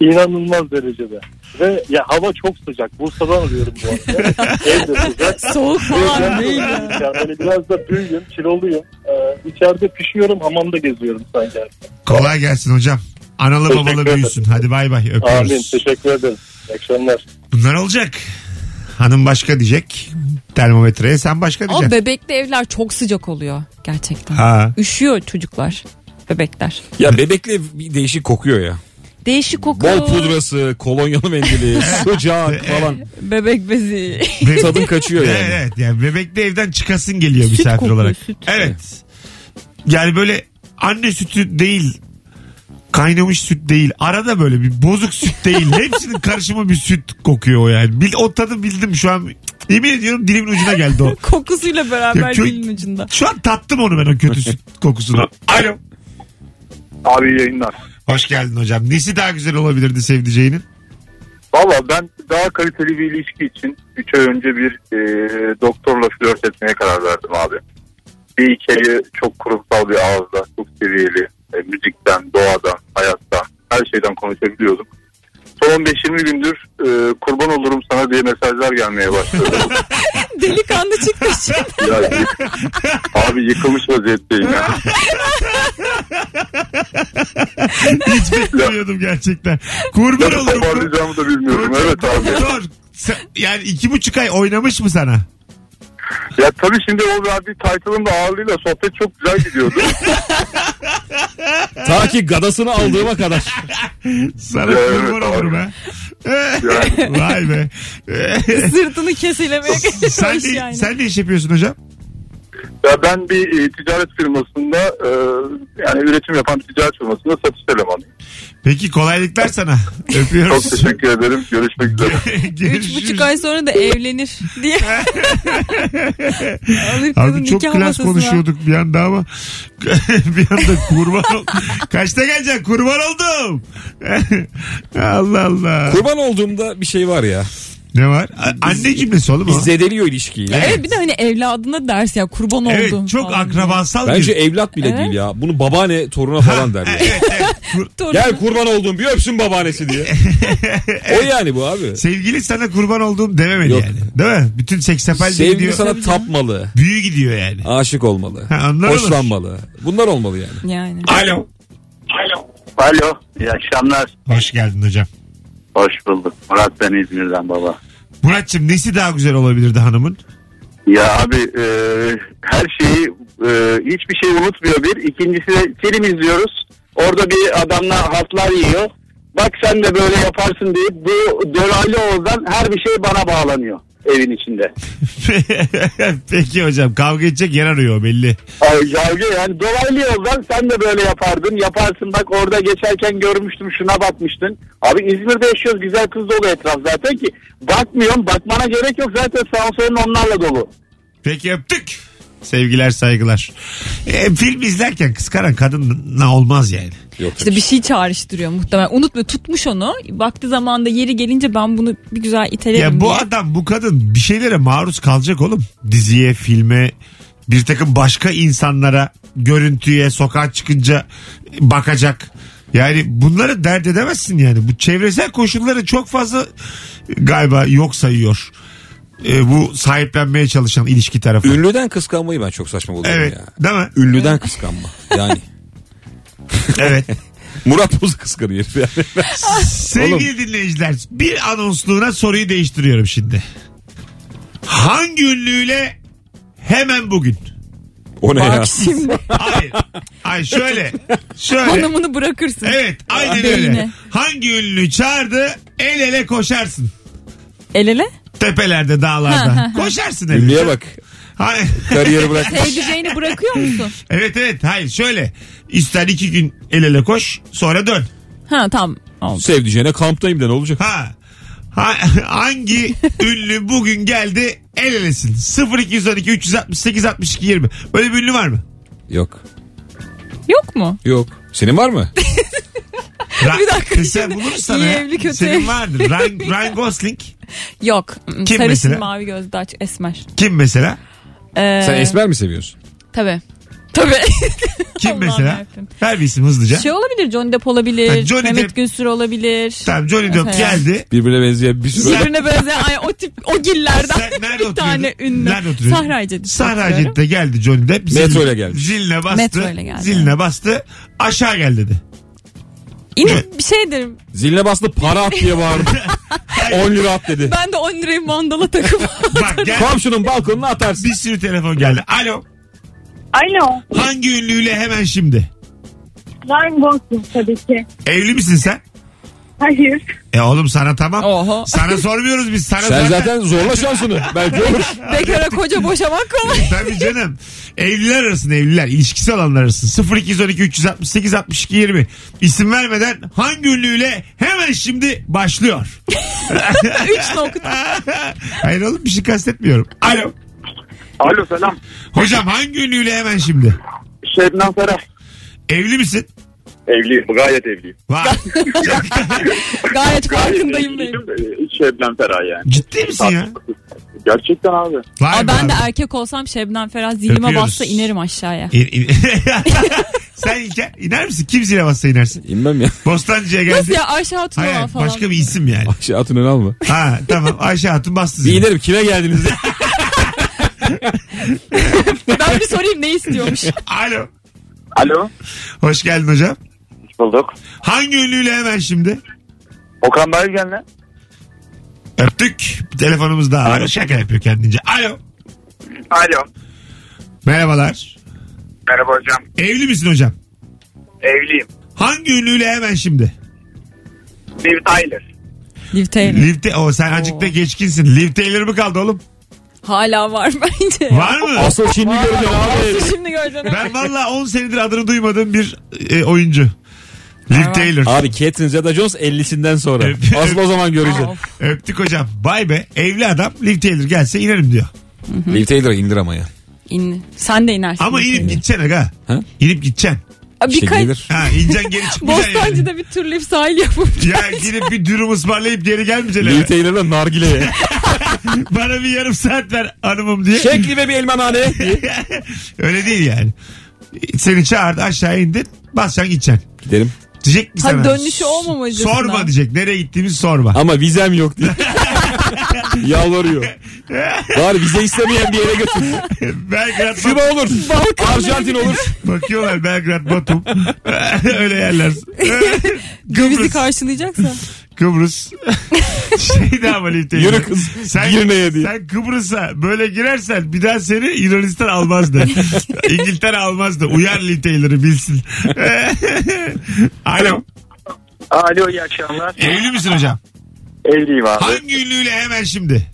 Speaker 8: İnanılmaz derecede. Ve ya hava çok sıcak. Bursa'dan arıyorum bu arada. Ev de sıcak.
Speaker 4: Soğuk falan değil. ya.
Speaker 8: Yani böyle biraz da büyüyüm, kiloluyum. Ee, içeride pişiyorum, hamamda geziyorum sanki.
Speaker 2: Kolay gelsin hocam. Analı
Speaker 8: Teşekkür
Speaker 2: babalı
Speaker 8: ederim.
Speaker 2: büyüsün. Hadi bay bay öpüyoruz.
Speaker 8: Amin, teşekkür ederim. İyi akşamlar.
Speaker 2: Bunlar olacak. Hanım başka diyecek. Termometreye sen başka
Speaker 4: Ama
Speaker 2: diyeceksin.
Speaker 4: bebekli evler çok sıcak oluyor gerçekten.
Speaker 2: Ha.
Speaker 4: Üşüyor çocuklar, bebekler.
Speaker 3: Ya bebekle bir değişik kokuyor ya.
Speaker 4: Değişik kokuyor.
Speaker 3: Bol pudrası, kolonyalı mendili,
Speaker 2: E,
Speaker 3: sıcak falan.
Speaker 4: Bebek bezi.
Speaker 2: Be-
Speaker 3: Tadın kaçıyor
Speaker 2: evet,
Speaker 3: yani.
Speaker 2: evet. Yani bebekli evden çıkasın geliyor misafir
Speaker 4: kokuyor,
Speaker 2: olarak.
Speaker 4: süt.
Speaker 2: Evet. Yani böyle anne sütü değil kaynamış süt değil. Arada böyle bir bozuk süt değil. Hepsinin karışımı bir süt kokuyor o yani. Bil, o tadı bildim şu an. Yemin ediyorum dilimin ucuna geldi o.
Speaker 4: Kokusuyla beraber
Speaker 2: Kö-
Speaker 4: dilin ucunda.
Speaker 2: Şu an tattım onu ben o kötü süt kokusunu. Alo.
Speaker 8: Abi yayınlar.
Speaker 2: Hoş geldin hocam. Nesi daha güzel olabilirdi sevdiceğinin?
Speaker 8: Valla ben daha kaliteli bir ilişki için 3 ay önce bir e, doktorla flört etmeye karar verdim abi. Bir hikayeyi çok kurumsal bir ağızla, çok seviyeli, müzikten, doğadan, hayattan, her şeyden konuşabiliyordum. Son 15-20 gündür e, kurban olurum sana diye mesajlar gelmeye başladı.
Speaker 4: Delikanlı çıktı şimdi.
Speaker 8: Ya, yık- abi yıkılmış vaziyetteyim ya.
Speaker 2: Hiç beklemiyordum gerçekten. Kurban
Speaker 8: Nasıl
Speaker 2: olurum.
Speaker 8: toparlayacağımı da bilmiyorum.
Speaker 2: Dur,
Speaker 8: Evet abi.
Speaker 2: Dur. Sen- Yani iki buçuk ay oynamış mı sana?
Speaker 8: Ya tabii şimdi o verdiği title'ın da ağırlığıyla sohbet çok güzel gidiyordu.
Speaker 3: Ta ki gadasını aldığıma kadar.
Speaker 2: Sana kurban olurum ha. Vay be.
Speaker 4: Sırtını kesilemeye
Speaker 2: sen,
Speaker 4: kalmış
Speaker 2: de,
Speaker 4: yani.
Speaker 2: sen de iş yapıyorsun hocam.
Speaker 8: Ya ben bir e, ticaret firmasında e, yani üretim yapan bir ticaret firmasında satış elemanıyım.
Speaker 2: Peki kolaylıklar sana. Öpüyoruz.
Speaker 8: Çok teşekkür ederim. Görüşmek üzere.
Speaker 4: Üç
Speaker 2: Görüşürüz.
Speaker 4: buçuk ay sonra da evlenir diye. Alır kızın
Speaker 2: Abi çok
Speaker 4: nikah
Speaker 2: klas
Speaker 4: masasına.
Speaker 2: konuşuyorduk bir anda ama bir anda kurban ol. Kaçta geleceksin? Kurban oldum. Allah Allah.
Speaker 3: Kurban olduğumda bir şey var ya.
Speaker 2: Ne var? A- Anne cümlesi oğlum
Speaker 3: Biz
Speaker 2: o.
Speaker 3: zedeliyor ilişkiyi. ya.
Speaker 4: Evet bir de hani evladına ders ya kurban
Speaker 2: Evet
Speaker 4: oldum.
Speaker 2: çok
Speaker 4: falan
Speaker 2: akrabasal
Speaker 3: Bence e-
Speaker 2: bir...
Speaker 3: evlat bile değil ya. Bunu babaanne toruna falan der. ya.
Speaker 2: Evet, evet. Kur-
Speaker 4: diye. Doğru.
Speaker 3: Gel kurban olduğum bir öpsün babaannesi diye. o yani bu abi.
Speaker 2: Sevgili sana kurban olduğum dememeli
Speaker 3: Yok.
Speaker 2: yani. Değil mi? Bütün seksapal
Speaker 3: Sevgili
Speaker 2: gidiyor.
Speaker 3: sana tapmalı.
Speaker 2: Büyü gidiyor yani.
Speaker 3: Aşık olmalı.
Speaker 2: Ha, onlar olur.
Speaker 3: hoşlanmalı. Bunlar olmalı yani.
Speaker 4: Yani.
Speaker 2: Alo.
Speaker 9: Alo, iyi akşamlar.
Speaker 2: Hoş geldin hocam.
Speaker 9: Hoş bulduk. Murat ben İzmir'den baba.
Speaker 2: Muratçım nesi daha güzel olabilirdi hanımın?
Speaker 9: Ya abi e, her şeyi e, hiçbir şey unutmuyor bir. İkincisi de film izliyoruz. Orada bir adamla hatlar yiyor. Bak sen de böyle yaparsın deyip bu dolaylı oğuldan her bir şey bana bağlanıyor evin içinde.
Speaker 2: Peki hocam kavga edecek yer arıyor belli.
Speaker 9: Ay, Kavga yani dolaylı yoldan sen de böyle yapardın yaparsın bak orada geçerken görmüştüm şuna bakmıştın. Abi İzmir'de yaşıyoruz güzel kız dolu etraf zaten ki bakmıyorum bakmana gerek yok zaten sağ solun onlarla dolu.
Speaker 2: Peki öptük. Sevgiler saygılar. E, film izlerken kıskanan kadınla olmaz yani.
Speaker 3: Yok.
Speaker 4: İşte bir şey çağrıştırıyor muhtemelen. Unutmuyor tutmuş onu. Vakti zamanda yeri gelince ben bunu bir güzel itelerim
Speaker 2: Ya bu
Speaker 4: diye.
Speaker 2: adam bu kadın bir şeylere maruz kalacak oğlum. Diziye, filme, bir takım başka insanlara, görüntüye, sokağa çıkınca bakacak. Yani bunları dert edemezsin yani. Bu çevresel koşulları çok fazla galiba yok sayıyor. E, bu sahiplenmeye çalışan ilişki tarafı.
Speaker 3: Ünlüden kıskanmayı ben çok saçma buluyorum
Speaker 2: evet.
Speaker 3: ya.
Speaker 2: Değil mi?
Speaker 3: Ünlüden kıskanma. Yani
Speaker 2: Evet.
Speaker 3: Murat Boz kıskanıyor herif yani.
Speaker 2: Sevgili dinleyiciler bir anonsluğuna soruyu değiştiriyorum şimdi. Hangi ünlüyle hemen bugün?
Speaker 3: O ne ya?
Speaker 4: Bak şimdi
Speaker 2: Hayır. Hayır şöyle. Şöyle.
Speaker 4: hanımını bırakırsın.
Speaker 2: Evet aynen
Speaker 4: Beyine.
Speaker 2: öyle. Hangi ünlü çağırdı el ele koşarsın.
Speaker 4: El ele.
Speaker 2: Tepelerde dağlarda. koşarsın el ele.
Speaker 3: Ünlüye bak.
Speaker 2: Hayır.
Speaker 3: Kariyeri bırakmış.
Speaker 4: Sevdiceğini bırakıyor musun?
Speaker 2: Evet evet hayır şöyle. İster iki gün el ele koş sonra dön.
Speaker 4: Ha tamam. Oldu.
Speaker 3: Sevdiceğine kamptayım de ne olacak?
Speaker 2: Ha. Ha- hangi ünlü bugün geldi el elesin? 0212 368 62 20. Böyle bir ünlü var mı?
Speaker 3: Yok.
Speaker 4: Yok mu?
Speaker 3: Yok. Senin var mı?
Speaker 2: Ra-
Speaker 4: Bir dakika
Speaker 2: Kız Sen
Speaker 4: şimdi.
Speaker 2: bulur sana.
Speaker 4: İyi
Speaker 2: ya.
Speaker 4: evli, kötü
Speaker 2: Senin
Speaker 4: evli.
Speaker 2: vardır. Ryan, Ryan Gosling
Speaker 4: Yok.
Speaker 2: Kim
Speaker 4: Sarışın
Speaker 2: mesela?
Speaker 4: mavi gözlü aç esmer.
Speaker 2: kim mesela?
Speaker 4: Ee,
Speaker 3: Sen esmer mi seviyorsun?
Speaker 4: Tabii. Tabii.
Speaker 2: Kim
Speaker 4: Allah'ım
Speaker 2: mesela?
Speaker 4: yarabbim.
Speaker 2: Ver bir isim hızlıca.
Speaker 4: Şey olabilir Johnny Depp olabilir.
Speaker 2: Ha, Johnny
Speaker 4: Mehmet
Speaker 2: Depp.
Speaker 4: Günsür olabilir.
Speaker 2: Tamam Johnny Depp
Speaker 4: Mesela.
Speaker 2: geldi.
Speaker 3: Birbirine benzeyen bir sürü.
Speaker 4: Birbirine benzeyen ay, o tip o gillerden
Speaker 2: Sen nerede
Speaker 4: bir tane
Speaker 2: oturuyordun?
Speaker 4: ünlü.
Speaker 2: Nerede oturuyordun?
Speaker 4: Sahracı'da oturuyorum.
Speaker 2: Sahracet'te geldi Johnny Depp. Zil-
Speaker 3: Metro ile geldi.
Speaker 2: Ziline bastı.
Speaker 4: Metro ile geldi.
Speaker 2: Ziline bastı. Aşağı gel dedi.
Speaker 4: İnip bir şey derim.
Speaker 3: Ziline bastı para at diye bağırdı. 10 lira at dedi.
Speaker 4: Ben de 10 lirayı mandala takıp
Speaker 2: Bak gel.
Speaker 3: Komşunun balkonuna atarsın.
Speaker 2: bir sürü telefon geldi. Alo.
Speaker 5: Alo.
Speaker 2: Hangi ünlüyle hemen şimdi?
Speaker 5: Ryan Gosling tabii ki.
Speaker 2: Evli misin sen?
Speaker 5: şey? Hayır.
Speaker 2: E oğlum sana tamam.
Speaker 4: Oho.
Speaker 2: Sana sormuyoruz biz. Sana
Speaker 3: Sen zaten zorla şansını. Belki olur.
Speaker 4: bekara koca boşamak kolay.
Speaker 2: E, Tabii canım. Evliler arasında evliler. ilişkisi olanlar arasında. 0212 368 62 20. İsim vermeden hangi ünlüyle hemen şimdi başlıyor.
Speaker 4: 3 nokta.
Speaker 2: Hayır oğlum bir şey kastetmiyorum. Alo.
Speaker 9: Alo selam.
Speaker 2: Hocam hangi ünlüyle hemen şimdi?
Speaker 9: Şebnem Ferah.
Speaker 2: Evli misin?
Speaker 9: Evliyim gayet evliyim.
Speaker 2: Var.
Speaker 4: Gayet farkındayım benim.
Speaker 9: Şebnem Ferah yani.
Speaker 2: Ciddi misin ya?
Speaker 9: Gerçekten abi.
Speaker 2: Var
Speaker 4: Aa,
Speaker 2: mı
Speaker 4: ben de
Speaker 2: abi?
Speaker 4: erkek olsam Şebnem Ferah zilime
Speaker 2: Öpüyoruz.
Speaker 4: bassa inerim aşağıya.
Speaker 2: İn- in- Sen iner, iner misin? Kim zile bassa inersin?
Speaker 3: İnmem ya.
Speaker 2: Bostancı'ya geldi.
Speaker 4: Nasıl ya aşağı
Speaker 2: Hayır,
Speaker 4: tutma falan.
Speaker 2: başka bir isim yani.
Speaker 3: Ayşe atın ön alma.
Speaker 2: Ha tamam Ayşe Hatun bastı
Speaker 3: Bir
Speaker 2: zile.
Speaker 3: inerim kime geldiniz? diye.
Speaker 4: Ben bir sorayım ne istiyormuş.
Speaker 2: Alo.
Speaker 9: Alo.
Speaker 2: Hoş geldin hocam.
Speaker 9: Hoş bulduk.
Speaker 2: Hangi ünlüyle hemen şimdi?
Speaker 9: Okan Bayülgen'le.
Speaker 2: Öptük. Bir Telefonumuz daha var. Şaka yapıyor kendince. Alo.
Speaker 9: Alo.
Speaker 2: Merhabalar.
Speaker 9: Merhaba hocam.
Speaker 2: Evli misin hocam?
Speaker 9: Evliyim.
Speaker 2: Hangi ünlüyle hemen şimdi?
Speaker 9: Liv Tyler.
Speaker 4: Liv Taylor.
Speaker 2: Liv Ta- o sen azıcık da geçkinsin. Liv Taylor mı kaldı oğlum?
Speaker 4: Hala var bence.
Speaker 2: Var mı?
Speaker 3: Asıl şimdi göreceğim abi.
Speaker 4: Şimdi göreceksin.
Speaker 2: Ben valla 10 senedir adını duymadığım bir e, oyuncu. Liv Taylor.
Speaker 3: Abi Catherine Zeta-Jones 50'sinden sonra.
Speaker 2: Evet.
Speaker 3: Asıl o zaman göreceğim.
Speaker 2: Öptük hocam. Vay be. Evli adam Liv Taylor gelse inerim diyor.
Speaker 3: Liv Taylor'ı indir ama ya.
Speaker 4: İn. Sen de inersin.
Speaker 2: Ama
Speaker 4: Liv
Speaker 2: inip
Speaker 4: Taylor.
Speaker 2: gideceksin aga.
Speaker 3: Ha?
Speaker 2: İnip gideceksin.
Speaker 4: Aa,
Speaker 3: İşte
Speaker 4: Birkaç
Speaker 3: Şey gelir.
Speaker 2: Ha ineceksin geri çıkmayacaksın yani.
Speaker 4: Bostancı'da bir türlü bir sahil yapıp
Speaker 2: Ya gidip bir dürüm ısmarlayıp geri gelmeyeceksin.
Speaker 3: Liv
Speaker 2: eve.
Speaker 3: Taylor'la nargileye.
Speaker 2: Bana bir yarım saat ver hanımım diye.
Speaker 3: Şekli ve bir elmanhane.
Speaker 2: Öyle değil yani. Seni çağırdı aşağı indin. Basacaksın gideceksin.
Speaker 3: Gidelim.
Speaker 2: Diyecek ki
Speaker 4: Ha,
Speaker 2: sana.
Speaker 4: dönüşü olmamacasına.
Speaker 2: Sorma diyecek. Nereye gittiğimizi sorma.
Speaker 3: Ama vizem yok diye. Yalvarıyor. Bari vize istemeyen bir yere götür.
Speaker 2: Belgrad
Speaker 3: Küba olur. Arjantin olur.
Speaker 2: bakıyorlar Belgrad Batum. Öyle yerler.
Speaker 4: dövizi
Speaker 2: Kıbrıs.
Speaker 4: karşılayacaksa.
Speaker 2: Kıbrıs. şey de ama Liv Taylor.
Speaker 3: Yürü kız.
Speaker 2: Sen,
Speaker 3: Girmeye diye.
Speaker 2: sen Kıbrıs'a böyle girersen bir daha seni Yunanistan almazdı. İngiltere almazdı. Uyar Liv Taylor'ı bilsin. Alo.
Speaker 9: Alo iyi akşamlar.
Speaker 2: Evli misin hocam?
Speaker 9: Evliyim abi.
Speaker 2: Hangi ünlüyle hemen şimdi?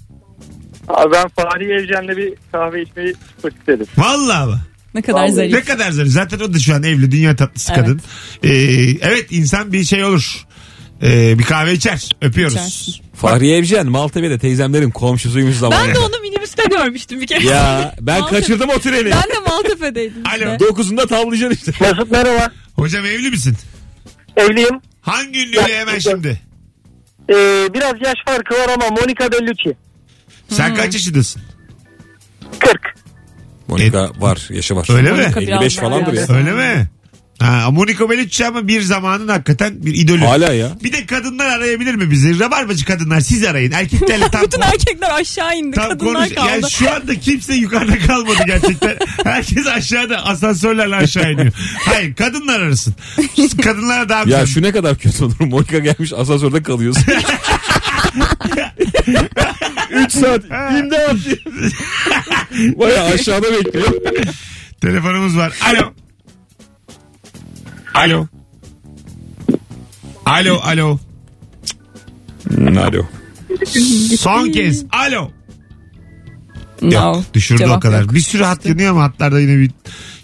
Speaker 8: Abi ben Fahri Evcen'le bir kahve içmeyi çok isterim.
Speaker 2: Vallahi mı?
Speaker 4: Ne kadar
Speaker 2: Ne
Speaker 4: zarif.
Speaker 2: kadar zarif. Zaten o da şu an evli. Dünya tatlısı
Speaker 4: Evet.
Speaker 2: kadın. Ee, evet insan bir şey olur. Ee, bir kahve içer. Öpüyoruz.
Speaker 4: İçersin.
Speaker 3: Fahriye Evcen Maltepe'de teyzemlerin komşusuymuş zamanında.
Speaker 4: Ben de onu minibüste görmüştüm bir kere.
Speaker 3: Ya ben
Speaker 4: Maltepe-
Speaker 3: kaçırdım o treni.
Speaker 4: Ben de Maltepe'deydim.
Speaker 2: Alo.
Speaker 4: işte.
Speaker 3: Dokuzunda tavlayacaksın işte.
Speaker 6: Mesut merhaba.
Speaker 2: Hocam evli misin?
Speaker 6: Evliyim.
Speaker 2: Hangi ünlüyle hemen şimdi?
Speaker 6: Ee, biraz yaş farkı var ama Monica Bellucci.
Speaker 2: Sen kaç yaşındasın?
Speaker 6: 40.
Speaker 3: Monika var yaşı var.
Speaker 2: Öyle mi?
Speaker 4: Monika biraz
Speaker 3: 55
Speaker 4: daha
Speaker 3: falandır ya.
Speaker 4: yaşlı.
Speaker 2: Öyle mi? Ha, Monica Bellucci ama bir zamanın hakikaten bir idolü.
Speaker 3: Hala ya.
Speaker 2: Bir de kadınlar arayabilir mi bizi? Rabarbacı kadınlar siz arayın. Erkeklerle tam
Speaker 4: Bütün erkekler aşağı indi.
Speaker 2: Tam
Speaker 4: kadınlar
Speaker 2: konuş.
Speaker 4: kaldı.
Speaker 2: Yani şu anda kimse yukarıda kalmadı gerçekten. Herkes aşağıda asansörlerle aşağı iniyor. Hayır kadınlar arasın. Kadınlara daha
Speaker 3: Ya
Speaker 2: güzel.
Speaker 3: şu ne kadar kötü olur. Monika gelmiş asansörde kalıyorsun. 3 saat. İmdat. Baya aşağıda bekliyor.
Speaker 2: Telefonumuz var. Alo. Alo. Alo alo.
Speaker 3: Hmm, Alo.
Speaker 2: Son kez. Alo.
Speaker 4: No.
Speaker 2: Yok, düşürdü
Speaker 4: Cevap
Speaker 2: o kadar.
Speaker 4: yok.
Speaker 2: Bir sürü hat yanıyor ama hatlarda yine bir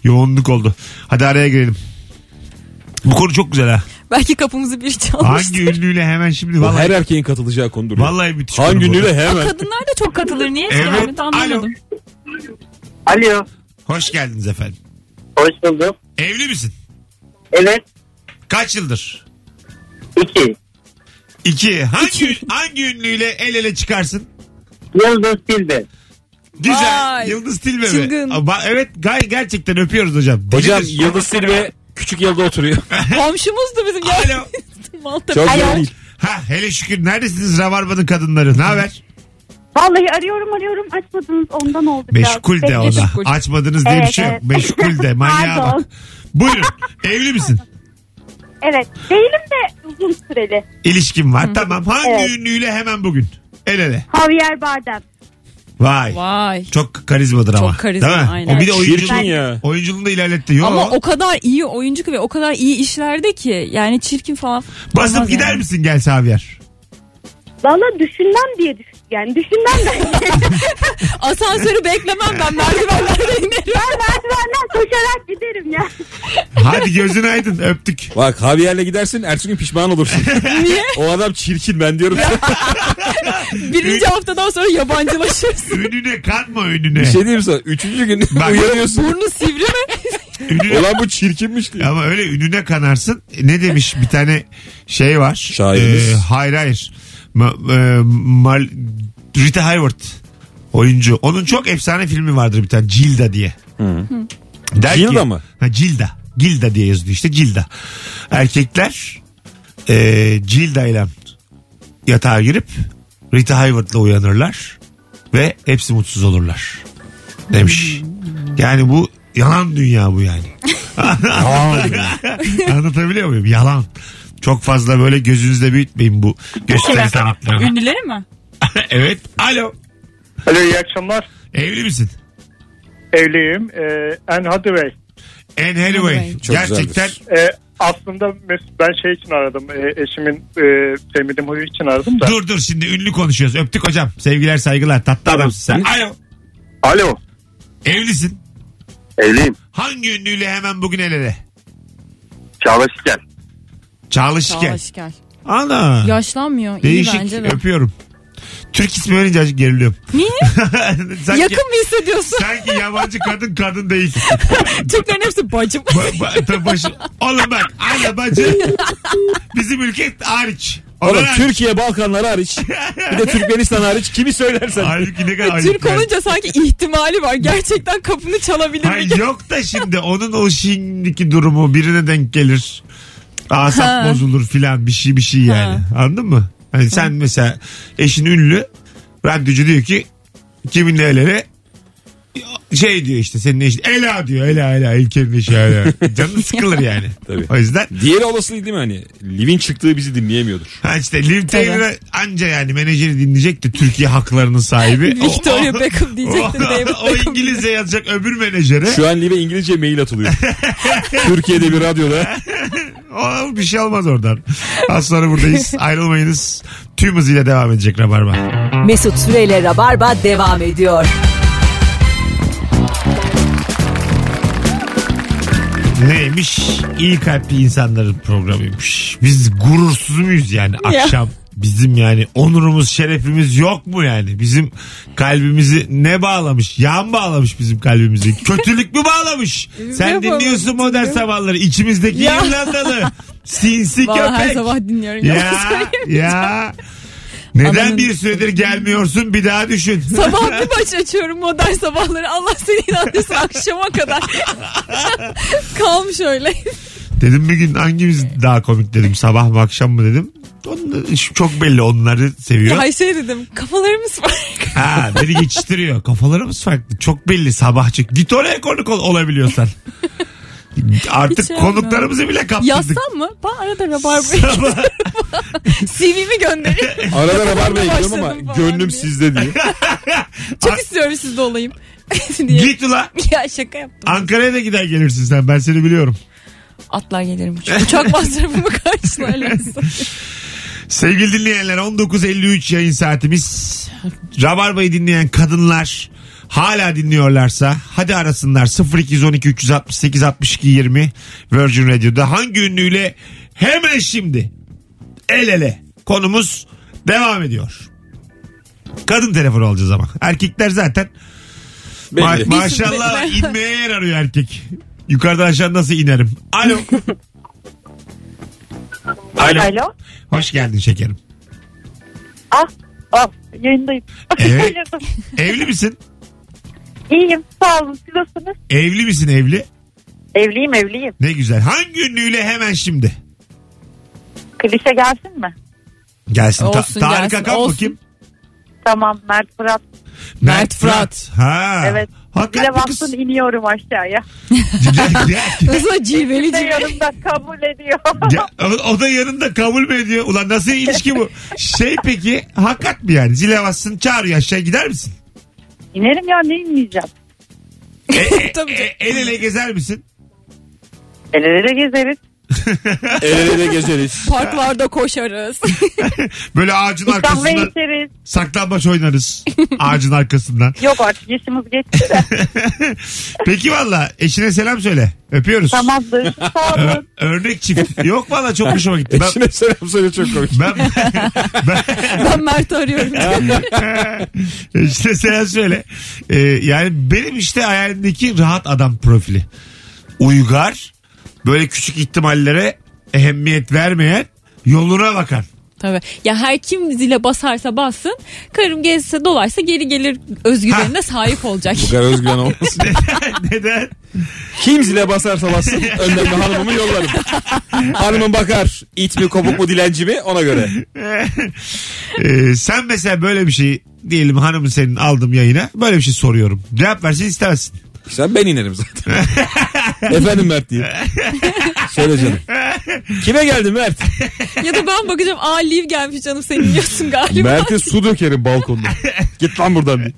Speaker 2: yoğunluk oldu. Hadi araya girelim. Bu konu çok güzel ha.
Speaker 4: Belki kapımızı biri çalmıştı.
Speaker 2: Hangi ünlüyle hemen şimdi
Speaker 3: Bu Her
Speaker 2: vallahi
Speaker 3: erkeğin katılacağı konudur.
Speaker 2: vallahi müthiş. konu bu.
Speaker 3: Hangi ünlüyle hemen.
Speaker 4: Kadınlar da çok katılır. Niye
Speaker 2: Evet.
Speaker 4: evet. anlamadım.
Speaker 6: Alo.
Speaker 2: Hoş geldiniz efendim.
Speaker 6: Hoş bulduk.
Speaker 2: Evli misin?
Speaker 6: Evet.
Speaker 2: Kaç yıldır?
Speaker 6: iki.
Speaker 2: İki. Hangi hangi ünlüyle el ele çıkarsın?
Speaker 6: Yıldız Tilbe.
Speaker 2: Güzel.
Speaker 4: Vay.
Speaker 2: Yıldız Tilbe mi?
Speaker 4: Çılgın.
Speaker 2: Ba- Evet gay gerçekten öpüyoruz hocam.
Speaker 3: Hocam
Speaker 2: Deliriz.
Speaker 3: Yıldız Silve küçük yılda oturuyor.
Speaker 4: Komşumuzdu bizim ya.
Speaker 2: Alo.
Speaker 4: Maltepe.
Speaker 3: Çok
Speaker 4: Alo.
Speaker 3: zor değil.
Speaker 2: Ha hele şükür neredesiniz Rabarba'nın kadınları? Ne haber?
Speaker 5: Vallahi arıyorum arıyorum açmadınız ondan oldu. biraz.
Speaker 2: Meşgul de
Speaker 5: Bekle-
Speaker 2: ona.
Speaker 4: meşgul.
Speaker 2: Açmadınız diye bir
Speaker 5: Evet,
Speaker 2: şey yok.
Speaker 5: evet.
Speaker 2: Meşgul de manyağa bak.
Speaker 5: Pardon.
Speaker 2: Buyurun. Evli misin?
Speaker 5: Evet. Değilim de uzun süreli.
Speaker 2: İlişkin var. Tamam. Hangi
Speaker 5: Evet.
Speaker 2: ünlüyle hemen bugün? El ele.
Speaker 5: Javier Bardem.
Speaker 2: Vay.
Speaker 4: Vay.
Speaker 2: Çok karizmadır ama.
Speaker 4: karizma,
Speaker 2: Değil mi?
Speaker 4: aynen.
Speaker 2: O bir de
Speaker 3: Çirkin
Speaker 2: oyunculuğunu,
Speaker 3: ya.
Speaker 2: oyunculuğunu da ilerletti. Yo.
Speaker 4: Ama o kadar iyi oyuncu ki ve o kadar iyi işlerde ki yani çirkin falan.
Speaker 2: Basıp
Speaker 4: olmaz
Speaker 2: gider
Speaker 4: yani.
Speaker 2: misin gel Javier?
Speaker 5: Valla düşünmem diye düşün. Yani düşünmem de.
Speaker 4: Asansörü beklemem ben merdivenlerde inerim.
Speaker 5: ben merdivenden koşarak giderim ya.
Speaker 2: Hadi gözün aydın öptük.
Speaker 3: Bak Javier'le gidersin ertesi gün pişman olursun.
Speaker 4: Niye?
Speaker 3: o adam çirkin ben diyorum.
Speaker 4: Birinci haftadan sonra yabancılaşırsın.
Speaker 2: Önüne kanma önüne.
Speaker 3: bir şey diyeyim sana. Üçüncü gün
Speaker 2: Bak.
Speaker 3: uyanıyorsun.
Speaker 4: Burnu sivri mi?
Speaker 2: Önüne-
Speaker 3: Ulan bu çirkinmiş diye.
Speaker 2: Ama öyle ününe kanarsın. E, Ne demiş bir tane şey var.
Speaker 3: Şairimiz.
Speaker 2: hayır hayır. Ma, e, Mal- Rita Hayworth oyuncu. Onun çok efsane filmi vardır bir tane Cilda diye. Der
Speaker 3: Gilda mı?
Speaker 2: Ha, Cilda. Gilda diye yazılıyor işte Cilda. Erkekler e, Cilda ile yatağa girip Rita Hayworth'la uyanırlar ve hepsi mutsuz olurlar. Demiş. Yani bu yalan dünya bu yani. Anlatabiliyor muyum? Yalan. Çok fazla böyle gözünüzde büyütmeyin bu gösteri sanatlarını.
Speaker 4: Ünlüleri mi?
Speaker 2: evet. Alo.
Speaker 8: Alo iyi akşamlar.
Speaker 2: Evli misin?
Speaker 8: Evliyim. Ee, Anne Hathaway.
Speaker 2: Anne Hathaway.
Speaker 4: Hathaway.
Speaker 3: Çok
Speaker 2: Gerçekten
Speaker 3: güzeldir.
Speaker 8: Ee, aslında Mesut, ben şey için aradım. E, eşimin e, sevmediğim huyu için aradım da.
Speaker 2: Dur dur şimdi ünlü konuşuyoruz. Öptük hocam. Sevgiler saygılar. Tatlı adamsın sen. Alo.
Speaker 9: Alo.
Speaker 2: Evlisin.
Speaker 9: Evliyim.
Speaker 2: Hangi ünlüyle hemen bugün el ele?
Speaker 9: Çağla Şikel.
Speaker 2: Çağla
Speaker 4: Çağla
Speaker 2: Şikel.
Speaker 4: Şikel.
Speaker 2: Ana.
Speaker 4: Yaşlanmıyor. iyi
Speaker 2: Değişik.
Speaker 4: bence de.
Speaker 2: Öpüyorum. Türk ismi verince azıcık geriliyorum.
Speaker 4: Niye?
Speaker 2: sanki,
Speaker 4: Yakın mı hissediyorsun?
Speaker 2: sanki yabancı kadın kadın değil.
Speaker 4: Türklerin hepsi bacım.
Speaker 2: Ba- ba- tabii başı- Oğlum bak ana bacı. Bizim ülke hariç. Onlar
Speaker 3: Oğlum
Speaker 2: hariç.
Speaker 3: Türkiye Balkanları hariç bir de Türkmenistan hariç kimi söylersen.
Speaker 2: Halbuki ne kadar
Speaker 4: Türk
Speaker 2: ayıp yani.
Speaker 4: olunca sanki ihtimali var. Gerçekten kapını çalabilir bir
Speaker 2: Hayır,
Speaker 4: gün.
Speaker 2: yok da şimdi onun o şimdiki durumu birine denk gelir. Asap
Speaker 4: Ha.
Speaker 2: bozulur filan bir şey bir şey yani. Anladın mı? Hani sen mesela eşin ünlü radyocu diyor ki kiminle el ele şey diyor işte senin eşin Ela diyor Ela Ela İlker'in eşi Ela. Canın sıkılır yani.
Speaker 3: Tabii.
Speaker 2: O yüzden
Speaker 3: Diğeri olasılık değil mi hani? Liv'in çıktığı bizi dinleyemiyordur.
Speaker 2: Ha işte Liv Taylor'ı anca yani menajeri dinleyecek de Türkiye haklarının sahibi. O-
Speaker 4: Victoria
Speaker 2: o-
Speaker 4: Beckham diyecektim.
Speaker 2: o-
Speaker 4: David
Speaker 2: Oh. O
Speaker 4: Beckham.
Speaker 2: İngilizce yazacak öbür menajere.
Speaker 3: Şu an Liv'e İngilizce mail atılıyor. Türkiye'de bir radyoda.
Speaker 2: O, bir şey olmaz oradan. Az sonra buradayız. Ayrılmayınız. Tüm hızıyla devam edecek Rabarba.
Speaker 1: Mesut Süreyle Rabarba devam ediyor.
Speaker 2: Neymiş? İyi kalpli insanların programıymış. Biz gurursuz muyuz yani
Speaker 4: Ya.
Speaker 2: akşam? Bizim yani onurumuz, şerefimiz yok mu yani? Bizim kalbimizi ne bağlamış? Yağ bağlamış bizim kalbimizi? Kötülük mü bağlamış? Sen
Speaker 4: yapamadık
Speaker 2: dinliyorsun modern sabahları. İçimizdeki
Speaker 4: Ya.
Speaker 2: İrlandalı. Sinsi
Speaker 4: Vallahi her
Speaker 2: köpek.
Speaker 4: sabah dinliyorum.
Speaker 2: Ya
Speaker 4: yalan söyleyeyim.
Speaker 2: ya. Neden
Speaker 4: Amanın.
Speaker 2: bir süredir gelmiyorsun bir daha düşün.
Speaker 4: Sabah bir maç açıyorum modern sabahları. Allah seni inandırsın akşama kadar. Kalmış öyle.
Speaker 2: dedim bir gün hangimiz daha komik dedim sabah mı akşam mı dedim. Onlar- çok belli onları seviyor.
Speaker 4: Ay şey dedim kafalarımız var.
Speaker 2: Ha beni geçiştiriyor. Kafalarımız farklı. Çok belli sabahçı. Git oraya konuk ol, olabiliyorsan. Artık
Speaker 4: Hiç olmuyor.
Speaker 2: konuklarımızı bile kaptırdık.
Speaker 4: Yazsam mı? Ben arada rabarbayı
Speaker 2: Sabah-
Speaker 4: CV'mi gönderin.
Speaker 3: Arada rabarba ekliyorum
Speaker 4: Başladım
Speaker 3: ama
Speaker 4: falan
Speaker 3: gönlüm
Speaker 4: diye.
Speaker 3: sizde diye.
Speaker 4: Çok istiyorum sizde olayım. diye.
Speaker 2: Git ulan.
Speaker 4: Ya şaka yaptım.
Speaker 2: Ankara'ya da gider gelirsin sen. Ben seni biliyorum.
Speaker 4: Atlar gelirim uçak. Uçak masrafımı karşılarlarsa.
Speaker 2: Sevgili dinleyenler 19.53 yayın saatimiz. Rabarba'yı dinleyen kadınlar hala dinliyorlarsa hadi arasınlar 0212 368 62 20 Virgin Radio'da hangi ünlüyle hemen şimdi el ele konumuz devam ediyor. Kadın telefonu alacağız ama. Erkekler zaten ma-
Speaker 3: Belli.
Speaker 2: maşallah inmeye yer arıyor erkek. Yukarıdan aşağı nasıl inerim? Alo. Alo.
Speaker 5: Alo.
Speaker 2: Hoş geldin şekerim.
Speaker 5: Ah. Ah. Yayındayım.
Speaker 2: Evet. Evli misin?
Speaker 5: İyiyim. Sağ olun. Siz nasılsınız?
Speaker 2: Evli misin evli?
Speaker 5: Evliyim evliyim.
Speaker 2: Ne güzel. Hangi ünlüyle hemen şimdi?
Speaker 5: Klişe gelsin mi?
Speaker 2: Gelsin. Ta-
Speaker 4: Olsun,
Speaker 2: Tarık
Speaker 4: gelsin,
Speaker 2: Akan mı
Speaker 4: olsun.
Speaker 2: kim?
Speaker 5: Tamam Mert Fırat.
Speaker 2: Mert
Speaker 4: Fırat.
Speaker 2: Ha.
Speaker 5: Evet. Bir de
Speaker 2: Hakikaten bu kız.
Speaker 5: baktın iniyorum aşağıya.
Speaker 2: Gel- gel-
Speaker 4: Nasıl cilveli
Speaker 5: Bir de
Speaker 4: cilveli.
Speaker 5: yanımda kabul ediyor.
Speaker 2: gel. O- O da yanında kabul mü ediyor? Ulan nasıl ilişki bu? Şey peki hakikat mi yani? Zile bassın çağırıyor aşağıya gider misin?
Speaker 5: İnerim ya ne inmeyeceğim.
Speaker 2: E, e,
Speaker 4: Tabii
Speaker 2: e, el ele gezer misin?
Speaker 5: El ele de gezeriz.
Speaker 3: El ele de gezeriz.
Speaker 4: Parklarda koşarız.
Speaker 2: Böyle ağacın
Speaker 5: Bir kahve
Speaker 2: arkasından
Speaker 5: içeriz.
Speaker 2: saklambaç oynarız. Ağacın arkasından.
Speaker 5: Yok artık yaşımız geçti de.
Speaker 2: Peki valla eşine selam söyle. Öpüyoruz.
Speaker 5: Tamamdır. Sağ
Speaker 2: Ö-
Speaker 5: olun.
Speaker 2: örnek çift. Yok valla çok hoşuma gitti. Ben,
Speaker 3: Eşine selam söyle çok komik.
Speaker 2: ben,
Speaker 4: ben Mert'i arıyorum.
Speaker 2: işte sen söyle. Ee, yani benim işte hayalimdeki rahat adam profili. Uygar, böyle küçük ihtimallere ehemmiyet vermeyen, yoluna bakan.
Speaker 4: Tabii. Ya her kim zile basarsa bassın, karım gezse dolaysa geri gelir özgüvenine sahip olacak.
Speaker 3: Bu kadar özgüven olmasın.
Speaker 2: Neden?
Speaker 3: Kim zile basarsa bassın önden bir hanımımı yollarım. Hanımım bakar it mi kopuk mu dilenci mi ona göre.
Speaker 2: Ee, sen mesela böyle bir şey diyelim hanımın senin aldım yayına böyle bir şey soruyorum. Cevap versin istemezsin.
Speaker 3: Sen ben inerim zaten. Efendim Mert diye. Söyle canım. Kime geldin Mert?
Speaker 4: ya da ben bakacağım, aa Liv gelmiş canım sen yiyorsun galiba.
Speaker 3: Mert'e su dökerim balkonda. Git lan buradan diye.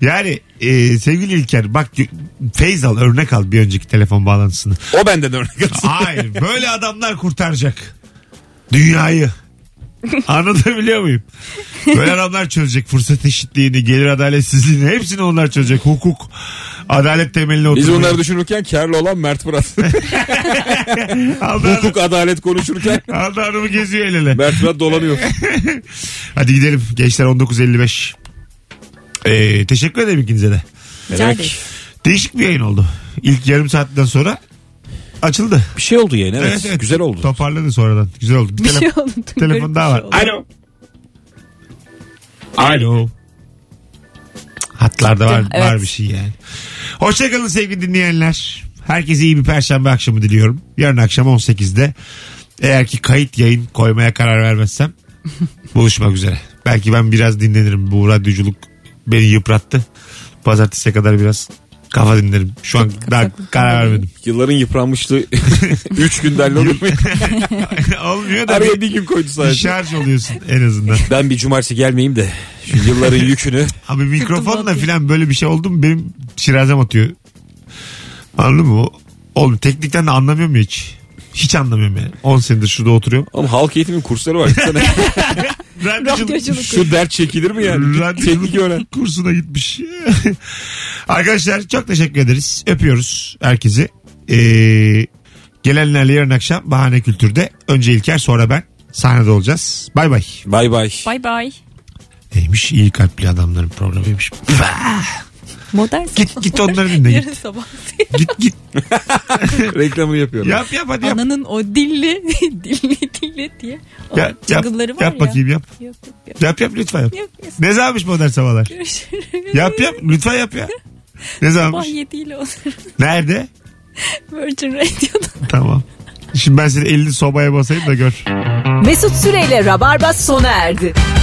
Speaker 2: yani e, sevgili İlker bak feyz al örnek al bir önceki telefon bağlantısını.
Speaker 3: O benden örnek alsın.
Speaker 2: Hayır böyle adamlar kurtaracak dünyayı. Anlatabiliyor muyum? Böyle adamlar çözecek fırsat eşitliğini, gelir adaletsizliğini hepsini onlar çözecek. Hukuk, adalet temeline
Speaker 3: Biz
Speaker 2: oturuyor.
Speaker 3: bunları düşünürken karlı olan Mert Fırat.
Speaker 2: Aldı,
Speaker 3: Hukuk adalet konuşurken
Speaker 2: aldı hanımı geziyor el ele.
Speaker 3: Mert Fırat dolanıyor.
Speaker 2: Hadi gidelim gençler 19.55. Ee, teşekkür ederim ikinize de.
Speaker 4: Rica
Speaker 3: Demek-
Speaker 4: ederim.
Speaker 2: Değişik bir yayın oldu. İlk yarım saatten sonra açıldı.
Speaker 3: Bir şey oldu yani evet. Güzel oldu.
Speaker 2: Toparladı sonradan. Güzel oldu. Bir,
Speaker 4: Bir
Speaker 2: tele-
Speaker 4: şey oldu.
Speaker 2: telefon daha var. Alo. Alo. Hatlarda var,
Speaker 4: Evet.
Speaker 2: var bir şey yani. Hoşçakalın sevgili dinleyenler. Herkese iyi bir perşembe akşamı diliyorum. Yarın akşam 18'de eğer ki kayıt yayın koymaya karar vermezsem buluşmak üzere. Belki ben biraz dinlenirim. Bu radyoculuk beni yıprattı. Pazartesiye kadar biraz kafa dinlerim. Şu an daha karar vermedim.
Speaker 3: Yılların yıpranmışlığı 3 günden olur mu?
Speaker 2: Olmuyor da
Speaker 3: Araya
Speaker 2: bir,
Speaker 3: bir gün koydu
Speaker 2: bir şey-
Speaker 3: sadece.
Speaker 2: şarj oluyorsun en azından.
Speaker 3: Ben bir cumartesi gelmeyeyim de şu yılların yükünü
Speaker 2: Abi mikrofonla
Speaker 4: batıyor.
Speaker 2: filan böyle bir şey oldu mu benim şirazem atıyor. Anladın mı? Oğlum teknikten de anlamıyorum ya hiç. Hiç anlamıyorum yani. 10 senedir şurada oturuyorum.
Speaker 3: Oğlum halk eğitimin kursları var. Sana
Speaker 2: Radyoculuk,
Speaker 4: Radyoculuk.
Speaker 3: Şu dert çekilir mi yani? Bir Teknik öğren.
Speaker 2: radyoculuk kursuna gitmiş. Arkadaşlar çok teşekkür ederiz. Öpüyoruz herkesi. Ee, gelenlerle yarın akşam Bahane Kültür'de. Önce İlker sonra ben sahnede olacağız. Bay bay.
Speaker 3: Bay bay.
Speaker 4: Bay bay.
Speaker 2: Neymiş iyi kalpli adamların programıymış.
Speaker 4: Modern
Speaker 2: git
Speaker 4: sabah.
Speaker 2: git onları dinle git.
Speaker 4: Yarın sabah.
Speaker 2: Git git.
Speaker 3: Reklamı yapıyorum.
Speaker 2: Yap yap hadi yap.
Speaker 4: Ananın o dilli dilli dilli diye. O
Speaker 2: Ya- yap,
Speaker 4: jingle'ları var
Speaker 2: yap
Speaker 4: ya.
Speaker 2: bakayım yap.
Speaker 4: Yok yok yok.
Speaker 2: Yap yap lütfen yap.
Speaker 4: Yok, yok.
Speaker 2: Ne zamanmış modern sabahlar?
Speaker 4: Görüşürüz.
Speaker 2: yap yap lütfen yap ya. Ne
Speaker 4: Sabah
Speaker 2: zamanmış?
Speaker 4: 7 ile olur.
Speaker 2: Nerede?
Speaker 4: Virgin Radio'da.
Speaker 2: Tamam. Şimdi ben senin elini sobaya basayım da gör.
Speaker 1: Mesut Süreyle Rabarba sona erdi.